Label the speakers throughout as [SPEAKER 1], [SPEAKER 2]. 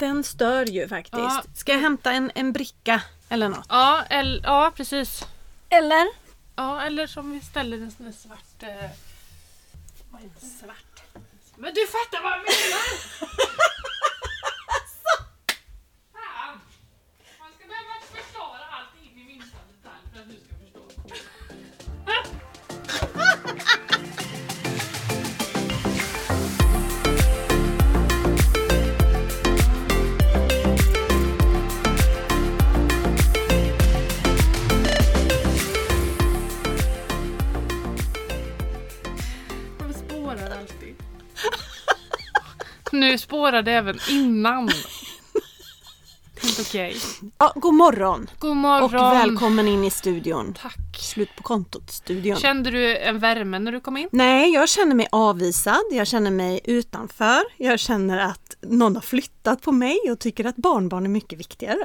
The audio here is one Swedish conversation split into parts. [SPEAKER 1] Den stör ju faktiskt.
[SPEAKER 2] Ja.
[SPEAKER 1] Ska jag hämta en, en bricka eller något?
[SPEAKER 2] Ja, el, ja precis.
[SPEAKER 1] Eller?
[SPEAKER 2] Ja, eller som vi ställer en sån här svart... Eh, vad är det? svart? Men du fattar vad jag menar! Fan! Man ska behöva förklara allting i minsta detalj för att du ska förstå. De spårar alltid. Nu spårade även innan. Det är inte okej.
[SPEAKER 1] Ja, god morgon
[SPEAKER 2] God
[SPEAKER 1] och
[SPEAKER 2] morgon.
[SPEAKER 1] välkommen in i studion.
[SPEAKER 2] Tack.
[SPEAKER 1] Slut på kontot-studion.
[SPEAKER 2] Kände du en värme när du kom in?
[SPEAKER 1] Nej, jag känner mig avvisad, jag känner mig utanför, jag känner att någon har flyttat på mig och tycker att barnbarn är mycket viktigare.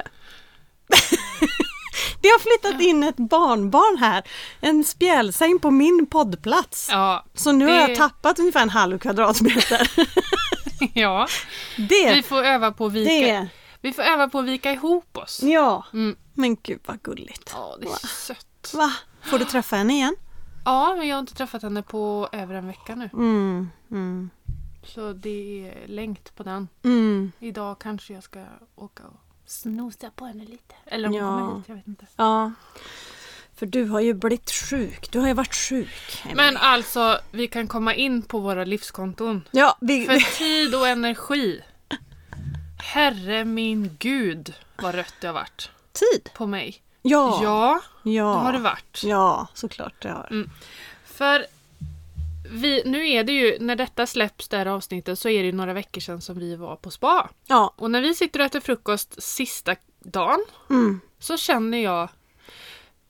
[SPEAKER 1] Det har flyttat in ett barnbarn här, en spjälsäng på min poddplats.
[SPEAKER 2] Ja.
[SPEAKER 1] Så nu har
[SPEAKER 2] det-
[SPEAKER 1] jag tappat ungefär en halv kvadratmeter.
[SPEAKER 2] ja. Vi
[SPEAKER 1] Det,
[SPEAKER 2] får öva på att vika,
[SPEAKER 1] det,
[SPEAKER 2] vi får öva på att vika ihop oss.
[SPEAKER 1] ja.
[SPEAKER 2] Mm.
[SPEAKER 1] Men gud vad gulligt.
[SPEAKER 2] Ja, det är sött.
[SPEAKER 1] Va? Får du träffa henne igen?
[SPEAKER 2] Ja, men jag har inte träffat henne på över en vecka nu.
[SPEAKER 1] Mm, mm,
[SPEAKER 2] Så det är längt på den.
[SPEAKER 1] mm.
[SPEAKER 2] Idag kanske jag ska åka och snosa på henne lite. Eller om hon
[SPEAKER 1] Ja.
[SPEAKER 2] kommer hit, jag vet inte.
[SPEAKER 1] Ja. För du har ju blivit sjuk, du har ju varit sjuk. Emily.
[SPEAKER 2] Men alltså, vi kan komma in på våra livskonton.
[SPEAKER 1] Ja, vi,
[SPEAKER 2] För tid och energi. Herre min gud vad rött det har varit
[SPEAKER 1] tid.
[SPEAKER 2] på mig.
[SPEAKER 1] Ja, ja,
[SPEAKER 2] Ja,
[SPEAKER 1] ja.
[SPEAKER 2] det har det varit. Mm.
[SPEAKER 1] Ja, såklart det har.
[SPEAKER 2] För vi, nu är det ju, när detta släpps det här avsnittet så är det ju några veckor sedan som vi var på spa.
[SPEAKER 1] Ja,
[SPEAKER 2] Och när vi sitter och äter frukost sista dagen
[SPEAKER 1] mm.
[SPEAKER 2] så känner jag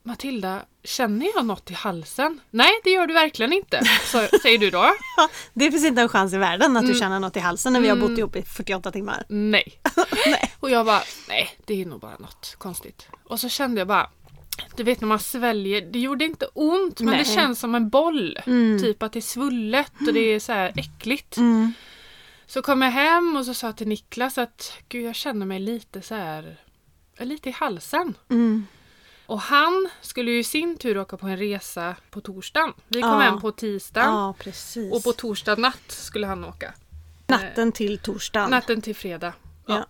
[SPEAKER 2] Matilda, känner jag något i halsen? Nej, det gör du verkligen inte, så, säger du då.
[SPEAKER 1] Ja, det finns inte en chans i världen att
[SPEAKER 2] Mm.
[SPEAKER 1] du känner något i halsen när vi har bott ihop i 48 timmar.
[SPEAKER 2] Nej.
[SPEAKER 1] Nej.
[SPEAKER 2] Och jag bara, nej, det är nog bara något konstigt. Och så kände jag bara, du vet när man sväljer, det gjorde inte ont men
[SPEAKER 1] Nej.
[SPEAKER 2] det känns som en boll. Typ att det är svullet och det är så här äckligt.
[SPEAKER 1] Mm.
[SPEAKER 2] Så kom jag hem och så sa till Niklas att gud jag känner mig lite så här lite i halsen.
[SPEAKER 1] Mm.
[SPEAKER 2] Och han skulle ju i sin tur åka på en resa på torsdagen. Vi kom
[SPEAKER 1] Ja.
[SPEAKER 2] hem på tisdagen
[SPEAKER 1] Ja, precis.
[SPEAKER 2] och på torsdag natt skulle han åka.
[SPEAKER 1] Natten till torsdagen.
[SPEAKER 2] Natten till fredag.
[SPEAKER 1] Ja.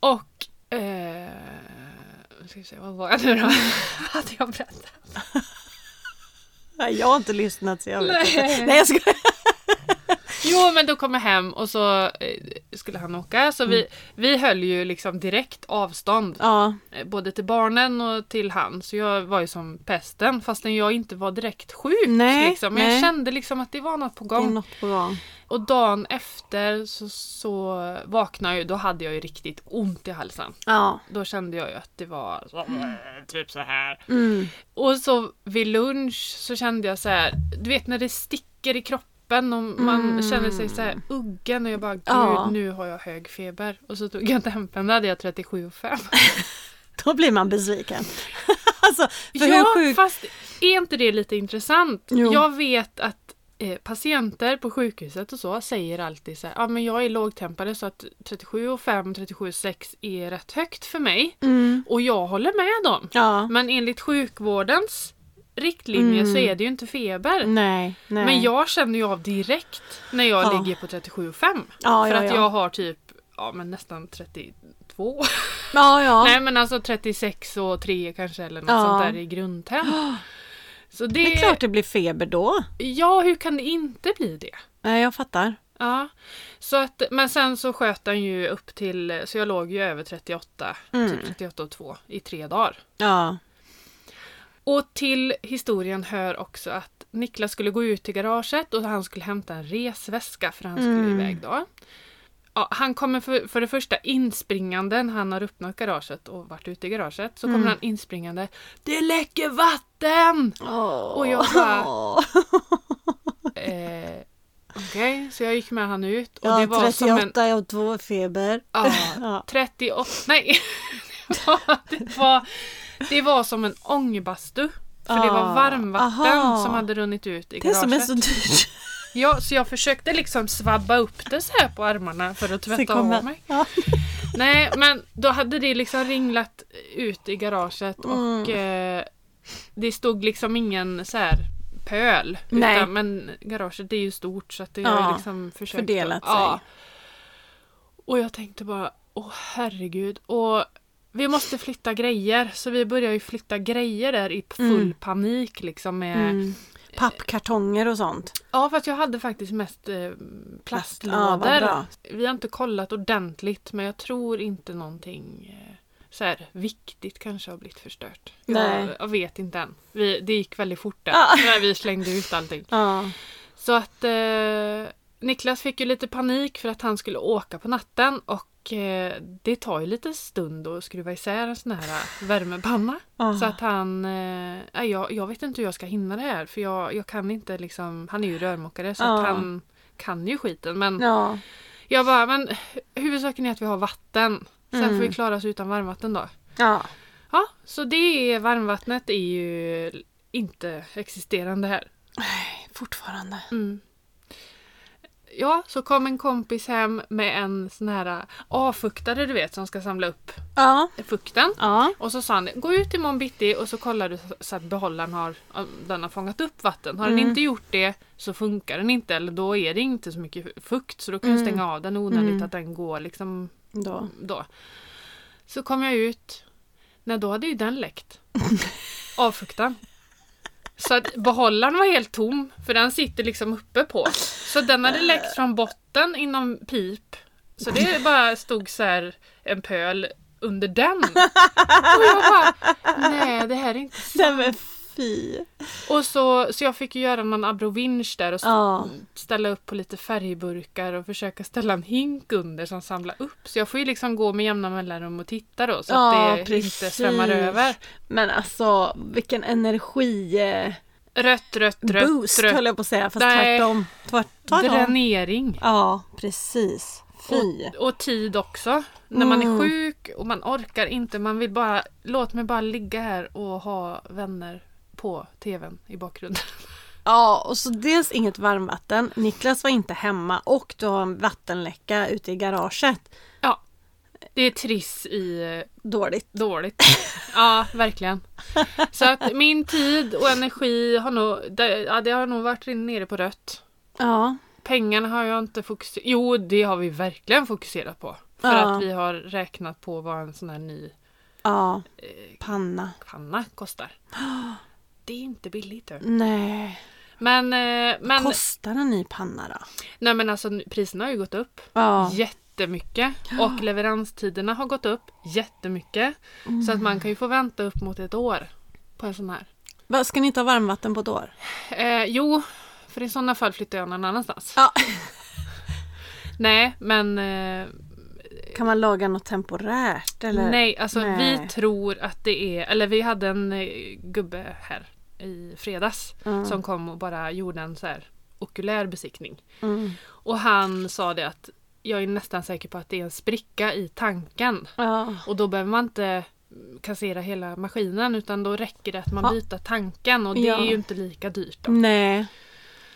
[SPEAKER 2] Och... Eh, ska vi se, vad var jag nu då? Hade jag berättat?
[SPEAKER 1] Nej, jag har inte lyssnat så jag vet inte.
[SPEAKER 2] Nej.
[SPEAKER 1] Nej, jag skojar.
[SPEAKER 2] Jo, men då kom jag hem och så eh, skulle han åka. Så
[SPEAKER 1] Mm.
[SPEAKER 2] vi, vi höll ju liksom direkt avstånd.
[SPEAKER 1] Ja,
[SPEAKER 2] eh, Både till barnen och till han. Så jag var ju som pesten fastän jag inte var direkt sjuk.
[SPEAKER 1] Nej,
[SPEAKER 2] liksom. Men jag
[SPEAKER 1] nej.
[SPEAKER 2] kände liksom att det var något på
[SPEAKER 1] det är
[SPEAKER 2] gång.
[SPEAKER 1] något på gång.
[SPEAKER 2] Och dagen efter så, så vaknade jag ju. Då hade jag ju riktigt ont i halsen.
[SPEAKER 1] Ja.
[SPEAKER 2] Då kände jag ju att det var så, typ så här.
[SPEAKER 1] Mm.
[SPEAKER 2] Och så vid lunch så kände jag så här, du vet när det sticker i kroppen och man
[SPEAKER 1] Mm.
[SPEAKER 2] känner sig så här uggen och jag bara gud
[SPEAKER 1] Ja.
[SPEAKER 2] nu har jag hög feber. Och så tog jag tempen, då hade jag 37,5.
[SPEAKER 1] Då blir man besviken. alltså, för
[SPEAKER 2] Ja,
[SPEAKER 1] hur sjuk...
[SPEAKER 2] fast är inte det lite intressant?
[SPEAKER 1] Jo.
[SPEAKER 2] Jag vet att eh, patienter på sjukhuset och så säger alltid så här, ja men jag är lågtempade så att 37,5 37,6 är rätt högt för mig.
[SPEAKER 1] Mm.
[SPEAKER 2] Och jag håller med dem.
[SPEAKER 1] Ja.
[SPEAKER 2] Men enligt sjukvårdens riktlinjer
[SPEAKER 1] Mm.
[SPEAKER 2] så är det ju inte feber.
[SPEAKER 1] Nej, nej.
[SPEAKER 2] Men jag känner ju av direkt när jag
[SPEAKER 1] Ja.
[SPEAKER 2] ligger på 37,5.
[SPEAKER 1] Ja,
[SPEAKER 2] för
[SPEAKER 1] ja,
[SPEAKER 2] att
[SPEAKER 1] ja.
[SPEAKER 2] jag har typ ja, men nästan 32.
[SPEAKER 1] Ja, ja.
[SPEAKER 2] Nej men alltså 36 och 3 kanske eller något
[SPEAKER 1] Ja.
[SPEAKER 2] sånt där i grundtemp. Så det,
[SPEAKER 1] Det är klart det blir feber då.
[SPEAKER 2] Ja, hur kan det inte bli det?
[SPEAKER 1] Nej, jag fattar.
[SPEAKER 2] Ja. Så att, men sen så sköt den ju upp till, så jag låg ju över 38,
[SPEAKER 1] Mm.
[SPEAKER 2] typ 38 och 2 i tre dagar.
[SPEAKER 1] Ja.
[SPEAKER 2] Och till historien hör också att Niklas skulle gå ut till garaget och han skulle hämta en resväska för han skulle
[SPEAKER 1] Mm.
[SPEAKER 2] iväg då. Ja, han kommer för, för det första inspringande när han har öppnat garaget och varit ute i garaget. Så kommer
[SPEAKER 1] Mm.
[SPEAKER 2] han inspringande. Det läcker vatten! Och jag bara-
[SPEAKER 1] Åh.
[SPEAKER 2] Eh, Okej, så jag gick med han ut. Och
[SPEAKER 1] Ja,
[SPEAKER 2] det var som en...
[SPEAKER 1] 38 och 2 feber.
[SPEAKER 2] Ja,
[SPEAKER 1] Ja.
[SPEAKER 2] 38... Nej! det, var, det, var, det var som en ångbastu. För det var
[SPEAKER 1] Ah,
[SPEAKER 2] varmvatten
[SPEAKER 1] aha.
[SPEAKER 2] som hade runnit ut i
[SPEAKER 1] Det
[SPEAKER 2] garaget.
[SPEAKER 1] som är så dyrt.
[SPEAKER 2] Ja, så jag försökte liksom svabba upp det så här på armarna för att
[SPEAKER 1] Sen
[SPEAKER 2] tvätta
[SPEAKER 1] kommer-
[SPEAKER 2] av mig.
[SPEAKER 1] Ja.
[SPEAKER 2] Nej, men då hade det liksom ringlat ut i garaget och
[SPEAKER 1] Mm.
[SPEAKER 2] eh, det stod liksom ingen så här pöl.
[SPEAKER 1] Nej.
[SPEAKER 2] Utan, men garaget är ju stort så att det
[SPEAKER 1] Ja,
[SPEAKER 2] har liksom försökt.
[SPEAKER 1] fördelat sig.
[SPEAKER 2] Ja. Och jag tänkte bara, åh herregud. Och vi måste flytta grejer, så vi började ju flytta grejer där i full panik liksom med
[SPEAKER 1] Mm. Pappkartonger och sånt.
[SPEAKER 2] Ja fast jag hade faktiskt mest eh,
[SPEAKER 1] Ja,
[SPEAKER 2] plastlådor.
[SPEAKER 1] vad bra.
[SPEAKER 2] Vi har inte kollat ordentligt men jag tror inte någonting eh, så här viktigt kanske har blivit förstört.
[SPEAKER 1] Nej.
[SPEAKER 2] Jag, jag vet inte än. Vi, det gick väldigt fort där
[SPEAKER 1] Ja.
[SPEAKER 2] när vi slängde ut allting.
[SPEAKER 1] Ja.
[SPEAKER 2] Så att eh, Niklas fick ju lite panik för att han skulle åka på natten och eh, det tar ju lite stund att skruva isär en sån här eh, värmepanna.
[SPEAKER 1] Ja.
[SPEAKER 2] Så att han, eh, nej, jag, jag vet inte hur jag ska hinna det här för jag, jag kan inte liksom, han är ju rörmokare så
[SPEAKER 1] Ja.
[SPEAKER 2] att han kan ju skiten men
[SPEAKER 1] ja.
[SPEAKER 2] jag bara, men huvudsaken är att vi har vatten. Sen
[SPEAKER 1] Mm.
[SPEAKER 2] får vi klara oss utan varmvatten då.
[SPEAKER 1] Ja.
[SPEAKER 2] Ja, så det är, varmvattnet är ju inte existerande här.
[SPEAKER 1] Fortfarande.
[SPEAKER 2] Mm. Ja, så kom en kompis hem med en sån här avfuktare du vet som ska samla upp
[SPEAKER 1] Ja.
[SPEAKER 2] fukten.
[SPEAKER 1] Ja.
[SPEAKER 2] Och så sa han gå ut imorgon bitti och så kollar du så- så att behållaren har, om den har fångat upp vatten. Har den
[SPEAKER 1] Mm.
[SPEAKER 2] inte gjort det så funkar den inte eller då är det inte så mycket fukt så då kan du
[SPEAKER 1] Mm.
[SPEAKER 2] stänga av den onödigt
[SPEAKER 1] Mm.
[SPEAKER 2] att den går liksom
[SPEAKER 1] Då.
[SPEAKER 2] då. Så kom jag ut. Nej, då hade ju den läckt. Avfuktan. Så att behållaren var helt tom, för den sitter liksom uppe på. Så den hade läckt från botten inom pip. Så det bara stod så här en pöl under den. Och jag bara, nej det här är inte...
[SPEAKER 1] Nej men fy.
[SPEAKER 2] Och så, så jag fick ju göra någon abrovinsch där och s-
[SPEAKER 1] Ja.
[SPEAKER 2] ställa upp på lite färgburkar och försöka ställa en hink under som samlar upp. Så jag får ju liksom gå med jämna mellanrum och titta då så
[SPEAKER 1] Ja,
[SPEAKER 2] att det inte
[SPEAKER 1] precis.
[SPEAKER 2] svämmar över.
[SPEAKER 1] Men alltså vilken energi... Eh,
[SPEAKER 2] Rött, rött, rött,
[SPEAKER 1] boost höll
[SPEAKER 2] rött.
[SPEAKER 1] jag på att säga fast
[SPEAKER 2] Nej.
[SPEAKER 1] tvärtom. Tvärt- Tvärtom.
[SPEAKER 2] Dränering.
[SPEAKER 1] Ja precis. Fy.
[SPEAKER 2] Och tid också. När man är
[SPEAKER 1] Mm.
[SPEAKER 2] sjuk och man orkar inte. Man vill bara, låt mig bara ligga här och ha vänner på tvn i bakgrunden.
[SPEAKER 1] Ja och så dels inget varmvatten. Niklas var inte hemma och du har en vattenläcka ute i garaget.
[SPEAKER 2] Ja, det är triss i eh,
[SPEAKER 1] Dåligt.
[SPEAKER 2] dåligt. Ja, verkligen. Så att min tid och energi har nog, det, ja, det har nog varit nere på rött.
[SPEAKER 1] Ja.
[SPEAKER 2] Pengarna har jag inte fokuserat Jo, det har vi verkligen fokuserat på. För
[SPEAKER 1] Ja.
[SPEAKER 2] att vi har räknat på vad en sån här ny
[SPEAKER 1] Ja. Eh. Panna.
[SPEAKER 2] panna kostar. Det är inte billigt. Du.
[SPEAKER 1] Nej.
[SPEAKER 2] Men, eh, men,
[SPEAKER 1] Kostar en ny panna då?
[SPEAKER 2] nej, men alltså, priserna har ju gått upp
[SPEAKER 1] Ja.
[SPEAKER 2] jättemycket. Och leveranstiderna har gått upp jättemycket.
[SPEAKER 1] Mm.
[SPEAKER 2] Så att man kan ju få vänta upp mot ett år på en sån här.
[SPEAKER 1] Vad, Ska ni inte ha varmvatten på ett år?
[SPEAKER 2] Eh, jo, för i sådana fall flyttar jag någon annanstans.
[SPEAKER 1] Ja.
[SPEAKER 2] Nej, men eh,
[SPEAKER 1] Kan man laga något temporärt eller?
[SPEAKER 2] nej, alltså
[SPEAKER 1] Nej.
[SPEAKER 2] vi tror att det är, eller vi hade en eh, gubbe här i fredags
[SPEAKER 1] Mm.
[SPEAKER 2] som kom och bara gjorde en så här okulär besiktning.
[SPEAKER 1] Mm.
[SPEAKER 2] Och han sa det att jag är nästan säker på att det är en spricka i tanken.
[SPEAKER 1] Ja.
[SPEAKER 2] Och då behöver man inte mm, kassera hela maskinen utan då räcker det att man
[SPEAKER 1] Ja.
[SPEAKER 2] byter tanken och det
[SPEAKER 1] Ja. Mm.
[SPEAKER 2] är ju inte lika dyrt. Då.
[SPEAKER 1] Nej.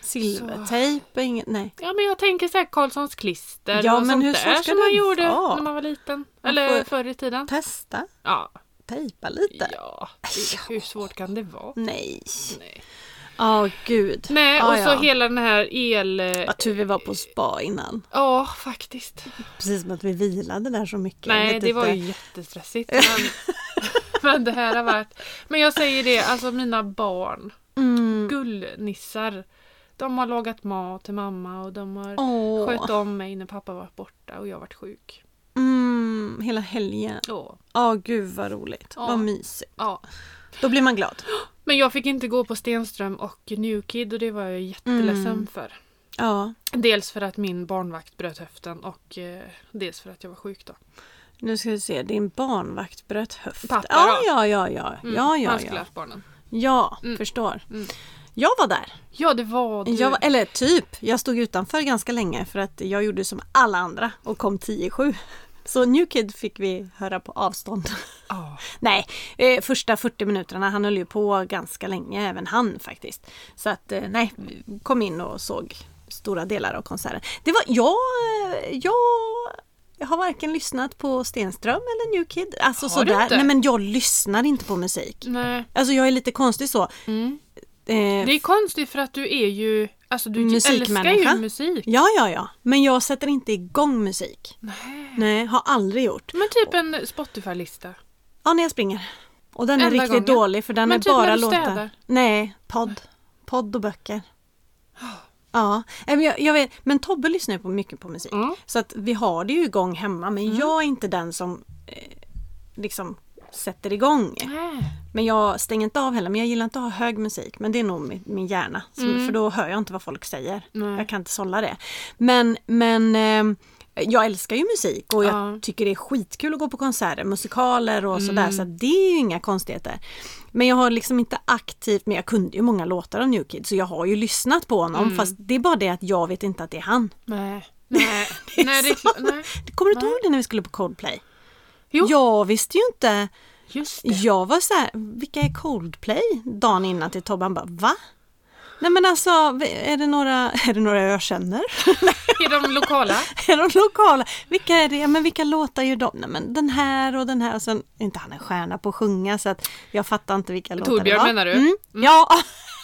[SPEAKER 1] Silvertejp är inget, nej.
[SPEAKER 2] Ja men jag tänker såhär Karlssons klister
[SPEAKER 1] Ja,
[SPEAKER 2] och
[SPEAKER 1] men
[SPEAKER 2] sånt
[SPEAKER 1] hur
[SPEAKER 2] där
[SPEAKER 1] svårt ska
[SPEAKER 2] som man
[SPEAKER 1] det
[SPEAKER 2] gjorde
[SPEAKER 1] vara?
[SPEAKER 2] när man var liten.
[SPEAKER 1] Man
[SPEAKER 2] Eller
[SPEAKER 1] får-
[SPEAKER 2] förr i tiden.
[SPEAKER 1] Testa,
[SPEAKER 2] Ja.
[SPEAKER 1] tejpa lite.
[SPEAKER 2] ja. det- Hur svårt kan det vara?
[SPEAKER 1] Nej.
[SPEAKER 2] Nej.
[SPEAKER 1] Ja, gud.
[SPEAKER 2] Nej
[SPEAKER 1] Ja,
[SPEAKER 2] och så
[SPEAKER 1] Ah, ja.
[SPEAKER 2] hela den här el... eh,
[SPEAKER 1] Vad tur vi var på spa innan.
[SPEAKER 2] Ja faktiskt.
[SPEAKER 1] Precis som att vi vilade där så mycket. Jag
[SPEAKER 2] Nej
[SPEAKER 1] vet
[SPEAKER 2] det var
[SPEAKER 1] inte.
[SPEAKER 2] ju jättestressigt. Men, men det här har varit... Men jag säger det, alltså mina barn,
[SPEAKER 1] Mm.
[SPEAKER 2] gullnissar. De har lagat mat till mamma och de har skött
[SPEAKER 1] Åh.
[SPEAKER 2] om mig när pappa var borta och jag varit sjuk.
[SPEAKER 1] Mm, hela helgen.
[SPEAKER 2] Åh,
[SPEAKER 1] Ja, gud vad roligt.
[SPEAKER 2] Ja.
[SPEAKER 1] Vad mysigt.
[SPEAKER 2] ja.
[SPEAKER 1] Då blir man glad.
[SPEAKER 2] Men jag fick inte gå på Stenström och Newkid och det var jag jätteledsen
[SPEAKER 1] Mm.
[SPEAKER 2] för.
[SPEAKER 1] Ja,
[SPEAKER 2] Dels för att min barnvakt bröt höften och eh, dels för att jag var sjuk då.
[SPEAKER 1] nu ska vi se. Din barnvakt bröt höft.
[SPEAKER 2] Pappa
[SPEAKER 1] ja,
[SPEAKER 2] då?
[SPEAKER 1] ja, ja, ja.
[SPEAKER 2] Mm,
[SPEAKER 1] ja, ja,
[SPEAKER 2] han skulle
[SPEAKER 1] ja.
[SPEAKER 2] haft barnen.
[SPEAKER 1] ja
[SPEAKER 2] Mm.
[SPEAKER 1] förstår.
[SPEAKER 2] Mm.
[SPEAKER 1] Jag var där.
[SPEAKER 2] Ja, det var du.
[SPEAKER 1] Jag, var- eller typ, jag stod utanför ganska länge för att jag gjorde som alla andra och kom 10 i sju. Så New Kid fick vi höra på avstånd.
[SPEAKER 2] Ja.
[SPEAKER 1] Nej, eh, första 40 minuterna, han höll ju på ganska länge även han faktiskt. Så att eh, nej, vi kom in och såg stora delar av konserten. Det var, jag, eh, jag har varken lyssnat på Stenström eller New Kid. Alltså
[SPEAKER 2] Har du
[SPEAKER 1] sådär.
[SPEAKER 2] inte?
[SPEAKER 1] Nej men jag lyssnar inte på musik.
[SPEAKER 2] Nej.
[SPEAKER 1] Alltså jag är lite konstig så.
[SPEAKER 2] Mm.
[SPEAKER 1] Eh,
[SPEAKER 2] Det är konstigt för att du är ju... Alltså du älskar
[SPEAKER 1] Musikmänniska.
[SPEAKER 2] ju musik.
[SPEAKER 1] Ja, ja, ja. Men jag sätter inte igång musik.
[SPEAKER 2] Nej.
[SPEAKER 1] Nej, har aldrig gjort.
[SPEAKER 2] Men typ en Spotify-lista.
[SPEAKER 1] Ja, när jag springer. Och den är
[SPEAKER 2] Enda
[SPEAKER 1] riktigt
[SPEAKER 2] gången.
[SPEAKER 1] dålig för den
[SPEAKER 2] Men
[SPEAKER 1] är
[SPEAKER 2] typ när
[SPEAKER 1] bara
[SPEAKER 2] du
[SPEAKER 1] låtar.
[SPEAKER 2] städar.
[SPEAKER 1] Nej, podd. Podd och böcker. Ja, Nej, men jag, jag vet, men Tobbe lyssnar ju på mycket på musik.
[SPEAKER 2] Mm.
[SPEAKER 1] Så att vi har det ju igång hemma men jag är inte den som eh, liksom sätter igång.
[SPEAKER 2] Nej.
[SPEAKER 1] Men jag stänger inte av heller, men jag gillar inte att ha hög musik. Men det är nog min, min hjärna, som, för då hör jag inte vad folk säger.
[SPEAKER 2] Mm. Nej.
[SPEAKER 1] Jag kan inte sålla det. Men, men ehm, jag älskar ju musik och jag
[SPEAKER 2] Ja. Mm.
[SPEAKER 1] tycker det är skitkul att gå på konserter, musikaler och sådär. Så att det är ju inga konstigheter. Men jag har liksom inte aktivt, men jag kunde ju många låtar av New Kids så jag har ju lyssnat på honom
[SPEAKER 2] Mm.
[SPEAKER 1] fast det är bara det att jag vet inte att det är han.
[SPEAKER 2] Nej. Nej. Nej, det är klart. Nej.
[SPEAKER 1] Kommer du inte
[SPEAKER 2] Nej.
[SPEAKER 1] ihåg det när vi skulle på Coldplay?
[SPEAKER 2] Jo.
[SPEAKER 1] Jag visste ju inte
[SPEAKER 2] Just det.
[SPEAKER 1] Jag var så här, vilka är Coldplay? Dagen innan till Tobbe, han bara va? Nej men alltså, är det några, är det några jag känner?
[SPEAKER 2] Är de lokala?
[SPEAKER 1] är de lokala? Vilka är det? Ja, Men vilka låtar gör de? Nej men den här och den här och sen är inte han en stjärna på att sjunga så att jag fattar inte vilka låtar det
[SPEAKER 2] Torbjörn
[SPEAKER 1] var.
[SPEAKER 2] menar du?
[SPEAKER 1] Mm. Ja,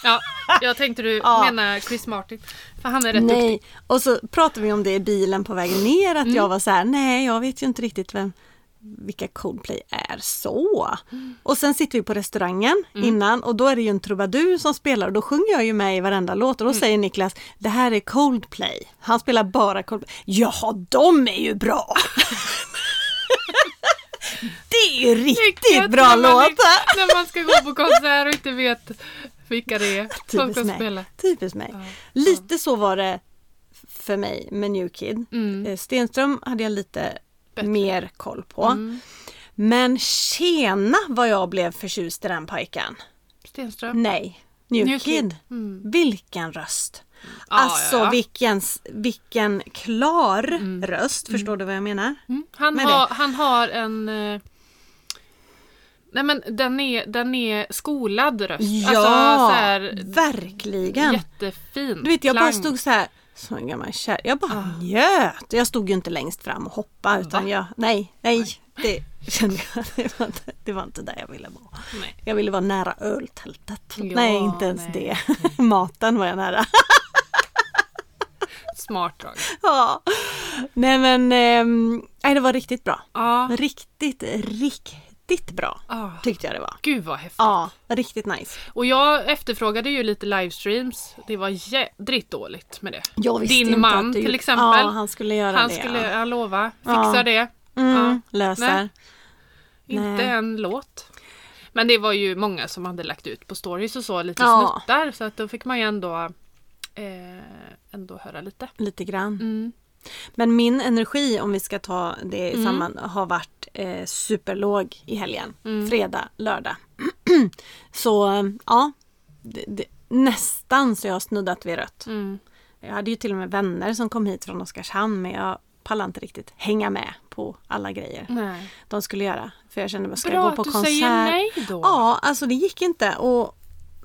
[SPEAKER 2] Ja, jag tänkte du
[SPEAKER 1] Ja.
[SPEAKER 2] menar Chris Martin. För han är rätt duktig.
[SPEAKER 1] nej. Och så pratade vi om det i bilen på vägen ner att jag var så här, nej jag vet ju inte riktigt vem vilka Coldplay är så. Och sen sitter vi på restaurangen innan och då är det ju en trubadur som spelar och då sjunger jag ju med i varenda låt och då säger Niklas det här är Coldplay. Han spelar bara Coldplay. Jaha, de är ju bra! det är ju
[SPEAKER 2] Vilket
[SPEAKER 1] riktigt bra
[SPEAKER 2] när man är-
[SPEAKER 1] låtar!
[SPEAKER 2] När man ska gå på konsert och inte vet vilka det är som ska
[SPEAKER 1] Typiskt mig.
[SPEAKER 2] spela.
[SPEAKER 1] Typiskt mig.
[SPEAKER 2] Ja,
[SPEAKER 1] Lite så var det för mig med New Kid.
[SPEAKER 2] Mm.
[SPEAKER 1] Eh, Stenström hade jag lite
[SPEAKER 2] Bättre.
[SPEAKER 1] mer koll på.
[SPEAKER 2] Mm.
[SPEAKER 1] Men tjena vad jag blev förtjust i den pojken.
[SPEAKER 2] Stenström.
[SPEAKER 1] Nej, New,
[SPEAKER 2] New
[SPEAKER 1] Kid.
[SPEAKER 2] Kid. Mm.
[SPEAKER 1] Vilken röst!
[SPEAKER 2] Ja,
[SPEAKER 1] alltså
[SPEAKER 2] ja, ja.
[SPEAKER 1] Vilken, s- vilken klar röst, förstår du vad jag menar?
[SPEAKER 2] Mm. Han,
[SPEAKER 1] Med
[SPEAKER 2] har, han har en... eh, Nej men den är, den är skolad röst.
[SPEAKER 1] Ja,
[SPEAKER 2] alltså, så här,
[SPEAKER 1] verkligen!
[SPEAKER 2] jättefin
[SPEAKER 1] Du vet jag bara
[SPEAKER 2] klang. Ah.
[SPEAKER 1] stod så här som en gammal kär. Jag bara njöt. Jag stod ju inte längst fram och hoppade utan
[SPEAKER 2] Va?
[SPEAKER 1] jag, nej, nej, det kände jag, det var inte, det var inte där jag ville vara.
[SPEAKER 2] Nej.
[SPEAKER 1] Jag ville vara nära öltältet.
[SPEAKER 2] Ja,
[SPEAKER 1] nej, inte ens
[SPEAKER 2] nej.
[SPEAKER 1] det. Maten var jag nära.
[SPEAKER 2] Smart drag.
[SPEAKER 1] ja. Nej men, ehm, nej, det var riktigt bra.
[SPEAKER 2] Ja.
[SPEAKER 1] Riktigt, riktigt bra
[SPEAKER 2] Ah.
[SPEAKER 1] tyckte jag det var.
[SPEAKER 2] Gud vad häftigt.
[SPEAKER 1] Ja, riktigt nice.
[SPEAKER 2] Och jag efterfrågade ju lite livestreams. Det var jädrigt dåligt med det.
[SPEAKER 1] Jag visste
[SPEAKER 2] Din
[SPEAKER 1] inte
[SPEAKER 2] man,
[SPEAKER 1] att du-
[SPEAKER 2] till exempel.
[SPEAKER 1] Ja, han skulle göra
[SPEAKER 2] Han
[SPEAKER 1] det.
[SPEAKER 2] skulle,
[SPEAKER 1] ja.
[SPEAKER 2] jag lovar,
[SPEAKER 1] Ja.
[SPEAKER 2] fixa det.
[SPEAKER 1] Mm,
[SPEAKER 2] Nej.
[SPEAKER 1] Löser.
[SPEAKER 2] Inte
[SPEAKER 1] Nej.
[SPEAKER 2] en låt. Men det var ju många som hade lagt ut på stories och så, lite
[SPEAKER 1] Ja.
[SPEAKER 2] snuttar. Så att då fick man ju ändå, eh, ändå höra lite.
[SPEAKER 1] Lite grann.
[SPEAKER 2] Mm.
[SPEAKER 1] Men min energi, om vi ska ta det i samman, har varit eh, superlåg i helgen.
[SPEAKER 2] Mm.
[SPEAKER 1] Fredag, lördag. så eh, ja, det, det, nästan så jag har snuddat vid rött.
[SPEAKER 2] Mm.
[SPEAKER 1] Jag hade ju till och med vänner som kom hit från Oskarshamn men jag pallade inte riktigt hänga med på alla grejer
[SPEAKER 2] Nej.
[SPEAKER 1] de skulle göra. För jag kände, bara, ska
[SPEAKER 2] Mm. Bra
[SPEAKER 1] jag gå på
[SPEAKER 2] att du
[SPEAKER 1] konsert?
[SPEAKER 2] säger nej då.
[SPEAKER 1] Ja, alltså det gick inte. Och,